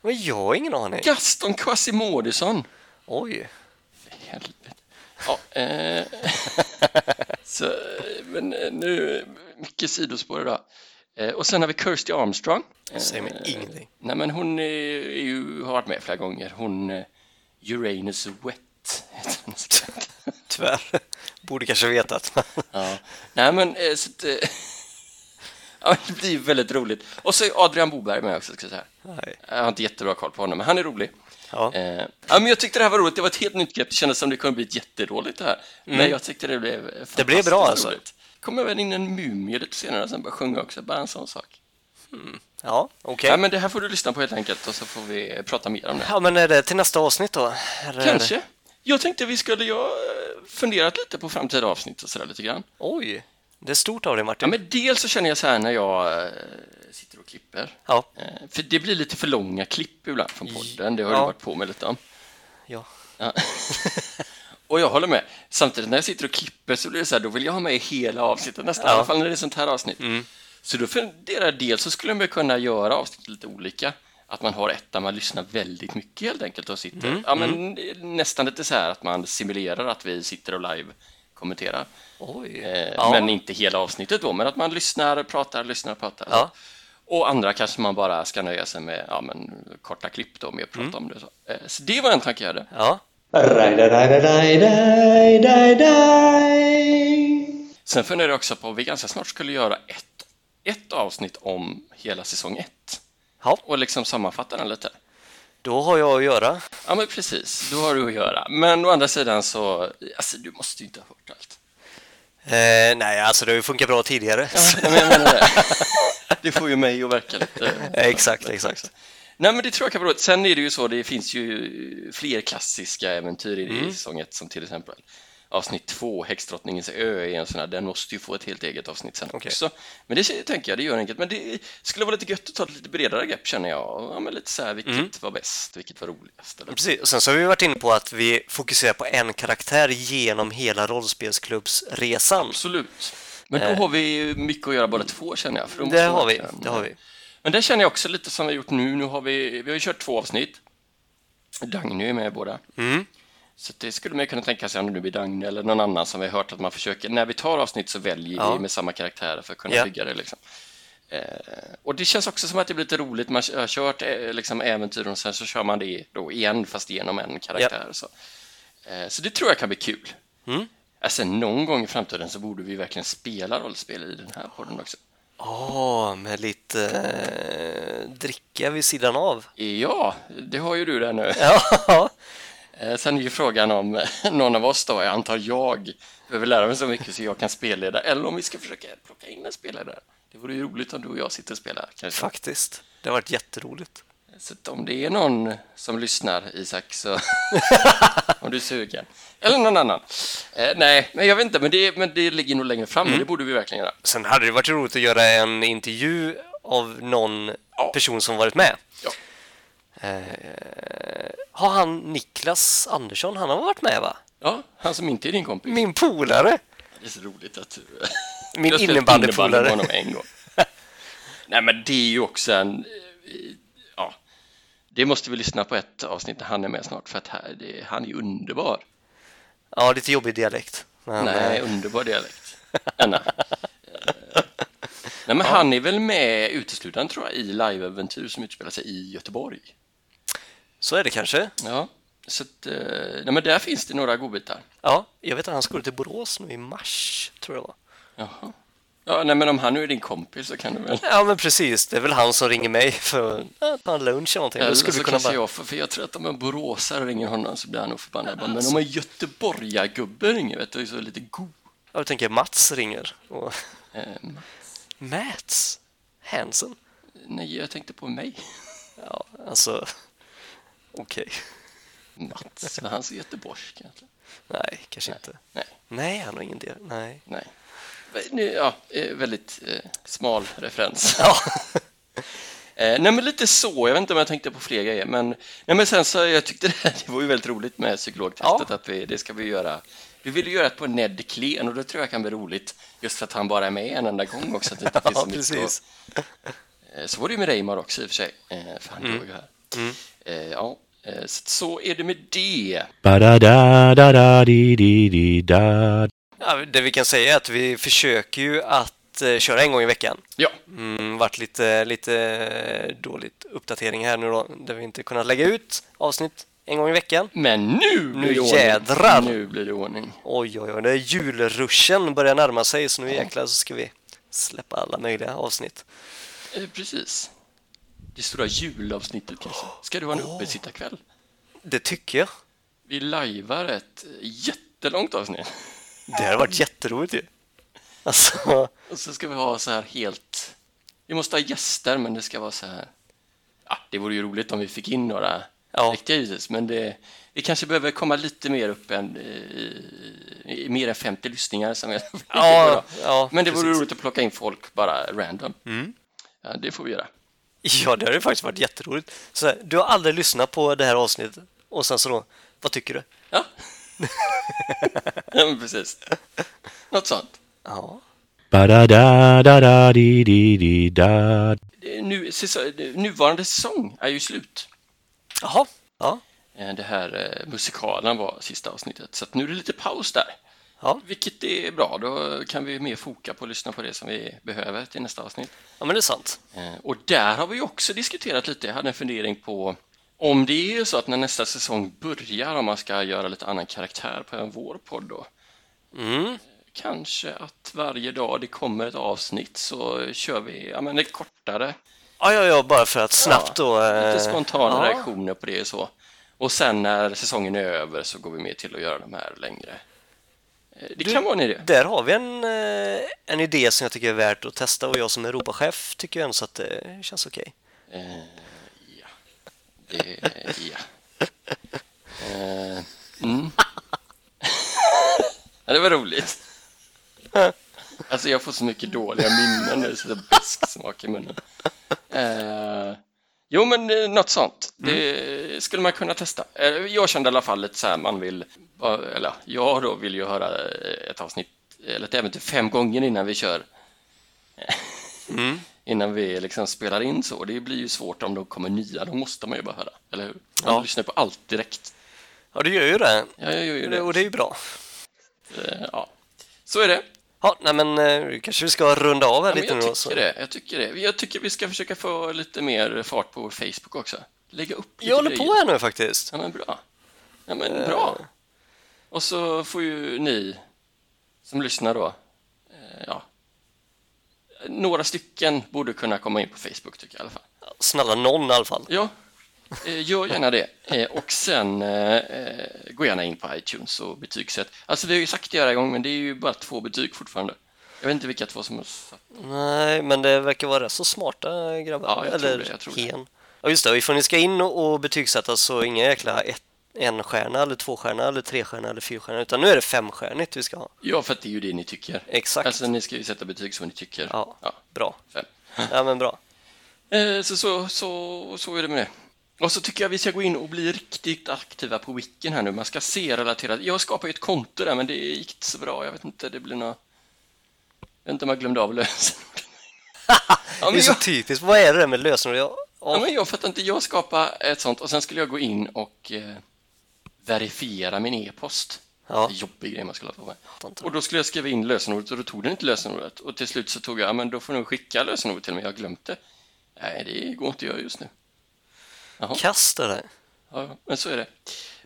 Speaker 1: Men jag har ingen aning.
Speaker 2: Gaston Quasimodusson!
Speaker 1: Oj.
Speaker 2: Helvete. Ja, eh, så, men eh, nu, mycket sidospår idag. Eh, och sen har vi Kirsty Armstrong. Eh,
Speaker 1: Säger mig ingenting.
Speaker 2: Nej, men hon är, är ju, har varit med flera gånger. Hon, eh, Uranus Wet, heter hon.
Speaker 1: Tyvärr. Borde kanske vetat. men-
Speaker 2: Ja. Nej, men eh, så att, eh, ja, det blir väldigt roligt. Och så är Adrian Boberg med också, ska jag säga.
Speaker 1: Nej.
Speaker 2: Jag har inte jättebra koll på honom, men han är rolig.
Speaker 1: Ja.
Speaker 2: Eh, ja, men jag tyckte det här var roligt. Det var ett helt nytt grepp. Det kändes som det kunde bli jätteroligt det här. Men jag tyckte det blev fantastiskt
Speaker 1: Mm. Det blev bra, alltså.
Speaker 2: roligt. Kom även in en mumie lite senare som började sjunga också. Bara en sån sak.
Speaker 1: Ja, okej.
Speaker 2: Ja, men det här får du lyssna på helt enkelt och så får vi eh, prata mer om det.
Speaker 1: Ja, men är det till nästa avsnitt då? Eller är det-
Speaker 2: Kanske. Jag tänkte vi skulle, jag eh, funderat lite på framtida avsnitt och sådär lite grann.
Speaker 1: Oj. Det är stort av dig
Speaker 2: Ja,
Speaker 1: Martin.
Speaker 2: men dels så känner jag så här när jag eh, sitter och klipper.
Speaker 1: Ja.
Speaker 2: Eh, För det blir lite för långa klipp ibland från podden. Det har
Speaker 1: Ja.
Speaker 2: du varit på med lite om.
Speaker 1: Ja.
Speaker 2: Ja. och jag håller med. Samtidigt när jag sitter och klipper så blir det så här, då vill jag ha med hela avsnittet nästan. I alla fall när det är sånt här avsnitt.
Speaker 1: Mm.
Speaker 2: Så då funderar jag dels så skulle man kunna göra avsnitt lite olika. Att man har ett där man lyssnar väldigt mycket helt enkelt och sitter.
Speaker 1: Mm.
Speaker 2: Ja, men nästan lite så här att man simulerar att vi sitter och live kommenterar.
Speaker 1: Oj.
Speaker 2: Eh,
Speaker 1: ja.
Speaker 2: Men inte hela avsnittet då, men att man lyssnar, pratar, lyssnar, pratar.
Speaker 1: Ja.
Speaker 2: Och andra kanske man bara ska nöja sig med ja, men, korta klipp då, med att prata
Speaker 1: Mm.
Speaker 2: om det. Så. Eh, så det var en tanke jag hade.
Speaker 1: Ja.
Speaker 2: Sen funderar jag också på om vi ganska snart skulle göra ett, ett avsnitt om hela säsong ett.
Speaker 1: Ja.
Speaker 2: Och liksom sammanfatta den lite.
Speaker 1: Då har jag att göra.
Speaker 2: Ja, men precis. Då har du att göra. Men å andra sidan så, alltså du måste ju inte ha hört allt.
Speaker 1: Eh, nej, alltså det har ju funkat bra tidigare.
Speaker 2: Ja, men jag menar det. Det får ju mig att verka lite...
Speaker 1: exakt, exakt.
Speaker 2: Nej, men det tror jag kan vara roligt. Sen är det ju så, det finns ju fler klassiska äventyr i mm. säsong ett, som till exempel avsnitt två, Häxdrottningens ö, är en sån här, den måste ju få ett helt eget avsnitt sen
Speaker 1: Okej.
Speaker 2: också. Men det tänker jag, det gör enkelt. Men det skulle vara lite gött att ta ett lite bredare grepp känner jag. Ja, men lite så här,
Speaker 1: Mm.
Speaker 2: vilket var bäst, vilket var roligast? Eller?
Speaker 1: Precis. Och sen så har vi varit inne på att vi fokuserar på en karaktär genom hela rollspelsklubbsresan.
Speaker 2: Absolut. Men då har vi ju mycket att göra båda två känner jag. För då måste
Speaker 1: Eh. Det har vi,
Speaker 2: verkligen-
Speaker 1: det har vi.
Speaker 2: Men det känner jag också lite som vi har gjort nu. Nu har vi, vi har ju kört två avsnitt. Dagny är med i båda.
Speaker 1: Mm.
Speaker 2: Så det skulle man ju kunna tänka sig om det nu blir Dagny eller någon annan som vi har hört att man försöker. När vi tar avsnitt så väljer
Speaker 1: Ja.
Speaker 2: vi med samma karaktärer för att kunna
Speaker 1: Ja.
Speaker 2: bygga det. Liksom. Eh, och det känns också som att det blir lite roligt. Man har kört eh, liksom, äventyr och sen så kör man det då igen fast genom en karaktär. Så. Eh, så det tror jag kan bli kul.
Speaker 1: Mm.
Speaker 2: Alltså, någon gång i framtiden så borde vi verkligen spela rollspel i den här podden också.
Speaker 1: Åh, med lite eh, dricka vid sidan av.
Speaker 2: Ja, det har ju du där nu.
Speaker 1: Ja,
Speaker 2: Eh, Sen är ju frågan om eh, någon av oss då, jag antar jag, behöver lära mig så mycket så jag kan spelleda, eller om vi ska försöka plocka in en spelledare. Det vore ju roligt om du och jag sitter och spelar kanske.
Speaker 1: faktiskt. Det har varit jätteroligt.
Speaker 2: Så att om det är någon som lyssnar, Isak, så om du är sugen. Eller någon annan. Eh, nej, men jag vet inte, men det, men det ligger nog längre fram, men det borde vi verkligen göra.
Speaker 1: Sen hade det varit roligt att göra en intervju av någon person som varit med.
Speaker 2: Ja.
Speaker 1: Eh, har han Niklas Andersson, han har varit med va?
Speaker 2: Ja, han som inte är din kompis.
Speaker 1: Min polare!
Speaker 2: Det är så roligt att du...
Speaker 1: Min
Speaker 2: Jag har spelat
Speaker 1: innebandypolare.
Speaker 2: innebandy med honom en gång. Nej, men det är ju också en... eh, Ja, det måste vi lyssna på ett avsnitt när han är med snart, för att här, det, han är ju underbar.
Speaker 1: Ja, lite jobbig dialekt. Men,
Speaker 2: Nej,
Speaker 1: eh,
Speaker 2: underbar dialekt. Anna. Eh, Nej, men han är väl med uteslutande tror jag i live-äventyr som utspelar sig i Göteborg.
Speaker 1: Så är det kanske.
Speaker 2: Ja, så att, eh, nej, men där finns det några godbitar.
Speaker 1: Ja, jag vet att han skulle till Borås nu i mars, tror jag det var.
Speaker 2: Jaha. Ja, nej, men om han nu är din kompis så kan du väl...
Speaker 1: Ja, men precis. Det är väl han som ringer mig för att ta en lunch eller någonting. Då
Speaker 2: Eller
Speaker 1: skulle vi
Speaker 2: så
Speaker 1: kunna
Speaker 2: alltså kanske
Speaker 1: bara...
Speaker 2: jag, för, för jag tror att om en boråsare ringer honom så blir han nog förbannad. Bara,
Speaker 1: Alltså-
Speaker 2: Men om en göteborgargubbe ringer, vet du, så är det lite god.
Speaker 1: Jag tänker Mats ringer. Och...
Speaker 2: Eh,
Speaker 1: Mats Hansen.
Speaker 2: nej, jag tänkte på mig.
Speaker 1: Ja, alltså... Okej.
Speaker 2: Mats, för han är göteborgsk egentligen.
Speaker 1: Nej, kanske inte.
Speaker 2: Nej,
Speaker 1: Nej, han har ingen del. Nej.
Speaker 2: nej. Men, nu, Ja, eh, väldigt eh, smal referens.
Speaker 1: Ja.
Speaker 2: Eh, nej, men lite så. Jag vet inte om jag tänkte på fler grejer, men, nej, men sen så jag tyckte det, här, det var ju väldigt roligt med psykologtestet att vi, det ska vi göra. Du ville göra det på Ned Klen och då tror jag kan bli roligt just för att han bara är med en enda gång också. Att det inte finns
Speaker 1: Ja,
Speaker 2: så, mycket
Speaker 1: precis.
Speaker 2: att- eh, så var det ju med Reimar också i och för sig, eh, för han låg ju här. Eh, ja, eh, så, så är det med det.
Speaker 3: Ba-da-da-da-da-di-di-di-da.
Speaker 1: Ja, det vi kan säga är att vi försöker ju att eh, köra en gång i veckan.
Speaker 2: Ja,
Speaker 1: Mm, varit lite, lite dåligt uppdatering här nu då, där vi inte kunnat lägga ut avsnitt en gång i veckan.
Speaker 2: men nu blir det ordning.
Speaker 1: jädrar.
Speaker 2: Nu blir det ordning.
Speaker 1: Oj, oj, oj, det är julruschen börjar närma sig, så nu jäklar så ska vi släppa alla möjliga avsnitt.
Speaker 2: Eh, precis. Det stora julavsnittet kanske. Ska du ha en uppesittarkväll?
Speaker 1: Det tycker jag.
Speaker 2: Vi lajvar ett jättelångt avsnitt.
Speaker 1: Det har varit jätteroligt ju. Alltså,
Speaker 2: Och så ska vi ha så här helt... Vi måste ha gäster, men det ska vara så här... Ja, det vore ju roligt om vi fick in några
Speaker 1: Ja.
Speaker 2: riktiga givetvis, men det... vi kanske behöver komma lite mer upp än... eh, i- i mer än 50 lyssningar. Som jag
Speaker 1: Ja, ja,
Speaker 2: men det vore
Speaker 1: precis. Mm.
Speaker 2: roligt att plocka in folk bara random. Ja, det får vi göra.
Speaker 1: ja, det har ju faktiskt varit jätteroligt. Så här, du har aldrig lyssnat på det här avsnittet och sen så då, vad tycker du?
Speaker 2: Ja, ja men precis. Något sånt.
Speaker 1: Ja,
Speaker 3: Ba-da-da-da-da-di-di-di-da.
Speaker 2: Eh, Nu, säsong- nuvarande säsong är ju slut.
Speaker 1: jaha, ja,
Speaker 2: Eh, det här eh, musikalen var sista avsnittet. Så att nu är det lite paus där.
Speaker 1: Ja.
Speaker 2: Vilket är bra, då kan vi mer foka på att lyssna på det som vi behöver till nästa avsnitt.
Speaker 1: ja, men det är sant.
Speaker 2: Eh, Och där har vi ju också diskuterat lite, jag hade en fundering på om det är så att när nästa säsong börjar, om man ska göra lite annan karaktär på en vår podd då,
Speaker 1: Mm.
Speaker 2: kanske att varje dag det kommer ett avsnitt så kör vi ja, men ett kortare
Speaker 1: Ja, ja, ja, bara för att snabbt då...
Speaker 2: Lite
Speaker 1: eh,
Speaker 2: spontana
Speaker 1: ja.
Speaker 2: reaktioner på det och så. Och sen när säsongen är över så går vi med till att göra de här längre. Eh, Det kan vara en idé.
Speaker 1: Där har vi en, eh, en idé som jag tycker är värt att testa och jag som Europachef tycker ju ändå så att det känns okej.
Speaker 2: Eh, ja. Det, ja. Eh, mm. ja, det var roligt. Alltså jag får så mycket dåliga minnen nu så det är besksmak i munnen. Eh, jo men eh, något sånt. Det skulle man kunna testa. Eh, jag kände i alla fall lite så här man vill, eh, eller jag då vill ju höra ett avsnitt, eller ett äventyr fem gånger innan vi kör innan vi liksom spelar in så. Det blir ju svårt om de kommer nya, då måste man ju bara höra, eller hur? Man
Speaker 1: Ja.
Speaker 2: lyssnar på allt direkt.
Speaker 1: Ja, du gör ju det.
Speaker 2: Ja, jag gör ju det.
Speaker 1: Och det är ju bra.
Speaker 2: Eh, Ja. Så är det.
Speaker 1: Ja, nej men eh, kanske vi ska runda av här
Speaker 2: Ja, men
Speaker 1: lite nu
Speaker 2: jag
Speaker 1: då.
Speaker 2: tycker
Speaker 1: Så.
Speaker 2: det. Jag tycker det. Jag tycker vi ska försöka få lite mer fart på vår Facebook också. Lägga upp lite
Speaker 1: Jag håller
Speaker 2: grejer.
Speaker 1: på Eh. här nu faktiskt.
Speaker 2: Ja, men bra. Ja, men bra. Och så får ju ni som lyssnar då, eh, ja, några stycken borde kunna komma in på Facebook tycker jag i alla fall.
Speaker 1: Snälla någon i alla fall.
Speaker 2: Ja, eh, gör gärna det. Eh, Och sen eh, eh, gå gärna in på iTunes och betygsätt. Alltså vi har ju sagt det här gång, men det är ju bara två betyg fortfarande. Jag vet inte vilka två som har satt.
Speaker 1: Nej, men det verkar vara rätt så smarta grabbar.
Speaker 2: Ja, jag tror
Speaker 1: Eller
Speaker 2: det, jag tror det.
Speaker 1: hen. Ja, just det. Ifall ni ska in och och betygsätta så inga jäkla ett, en stjärna eller två stjärna eller tre stjärna eller fyrstjärna utan nu är det femstjärnigt vi ska ha.
Speaker 2: Ja, för att det är ju det ni tycker.
Speaker 1: Exakt.
Speaker 2: Alltså ni ska ju sätta betyg som ni tycker.
Speaker 1: Ja,
Speaker 2: ja
Speaker 1: bra.
Speaker 2: fem.
Speaker 1: Ja, men bra.
Speaker 2: Eh, Så, så, så, så är det med det. Och så tycker jag vi ska gå in och bli riktigt aktiva på wikin här nu. Man ska se relaterat. Jag skapade ju ett konto där, men det gick inte så bra. Jag vet inte, det blir något... Jag vet inte om jag glömde av lösenordet. ja,
Speaker 1: det
Speaker 2: men
Speaker 1: är så
Speaker 2: jag,
Speaker 1: typiskt. Vad är det där med lösenord? Jag,
Speaker 2: ja,
Speaker 1: ja,
Speaker 2: men jag fattar inte. Jag skapade ett sånt och sen skulle jag gå in och eh, verifiera min e-post.
Speaker 1: Ja.
Speaker 2: Det är jobbig grej man skulle ha på mig.
Speaker 1: fattar inte.
Speaker 2: Och då skulle jag skriva in lösenordet och då tog den inte lösenordet. Och till slut så tog jag, ja men då får du skicka lösenordet till mig, jag har glömt det. Nej, det går inte att göra just nu.
Speaker 1: Kast det där.
Speaker 2: Ja, ja, men så är det.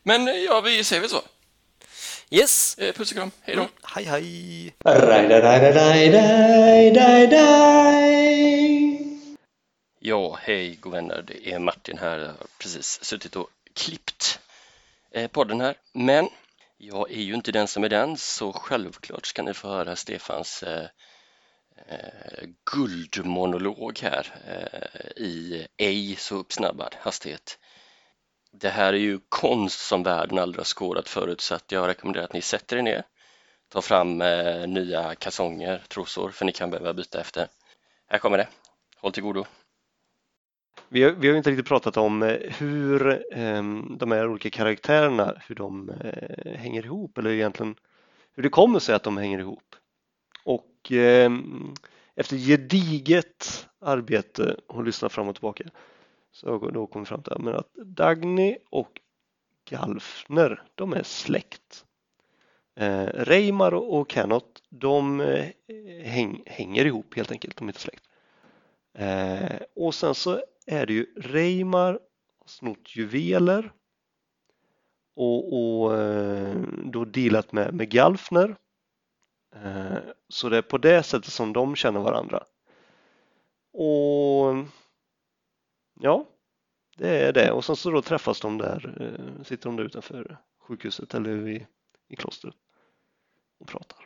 Speaker 2: Men eh, ja, vi säger väl så.
Speaker 1: Yes!
Speaker 2: Eh, Puss och kram, hej då.
Speaker 1: Hej, hej!
Speaker 2: Ja, hej god vänner, det är Martin här. Jag har precis suttit och klippt eh, podden här. Men jag är ju inte den som är den, så självklart ska ni få höra Stefans eh, eh, guldmonolog här eh, i ej så uppsnabbad hastighet. Det här är ju konst som världen aldrig har skådat förut, så att jag rekommenderar att ni sätter er ner, tar fram eh, nya kalsonger, trosor, för ni kan behöva byta efter. Här kommer det. Håll till godo.
Speaker 1: Vi har, vi har ju inte riktigt pratat om eh, hur ehm, de här olika karaktärerna, hur de eh, hänger ihop eller egentligen hur det kommer sig att de hänger ihop. Och ehm, efter gediget arbete och lyssna fram och tillbaka så har jag då kommit fram till men att Dagny och Galfner, de är släkt. Eh, Reimar och Canot, de eh, häng, hänger ihop helt enkelt, de är inte släkt. Eh, och sen så är det ju Reimar har snott juveler och, och eh, då dealat med, med Galfner. Eh, så det är på det sättet som de känner varandra. Och ja, det är det. Och sen så då träffas de där, eh, sitter de där utanför sjukhuset eller i, i klostret och pratar.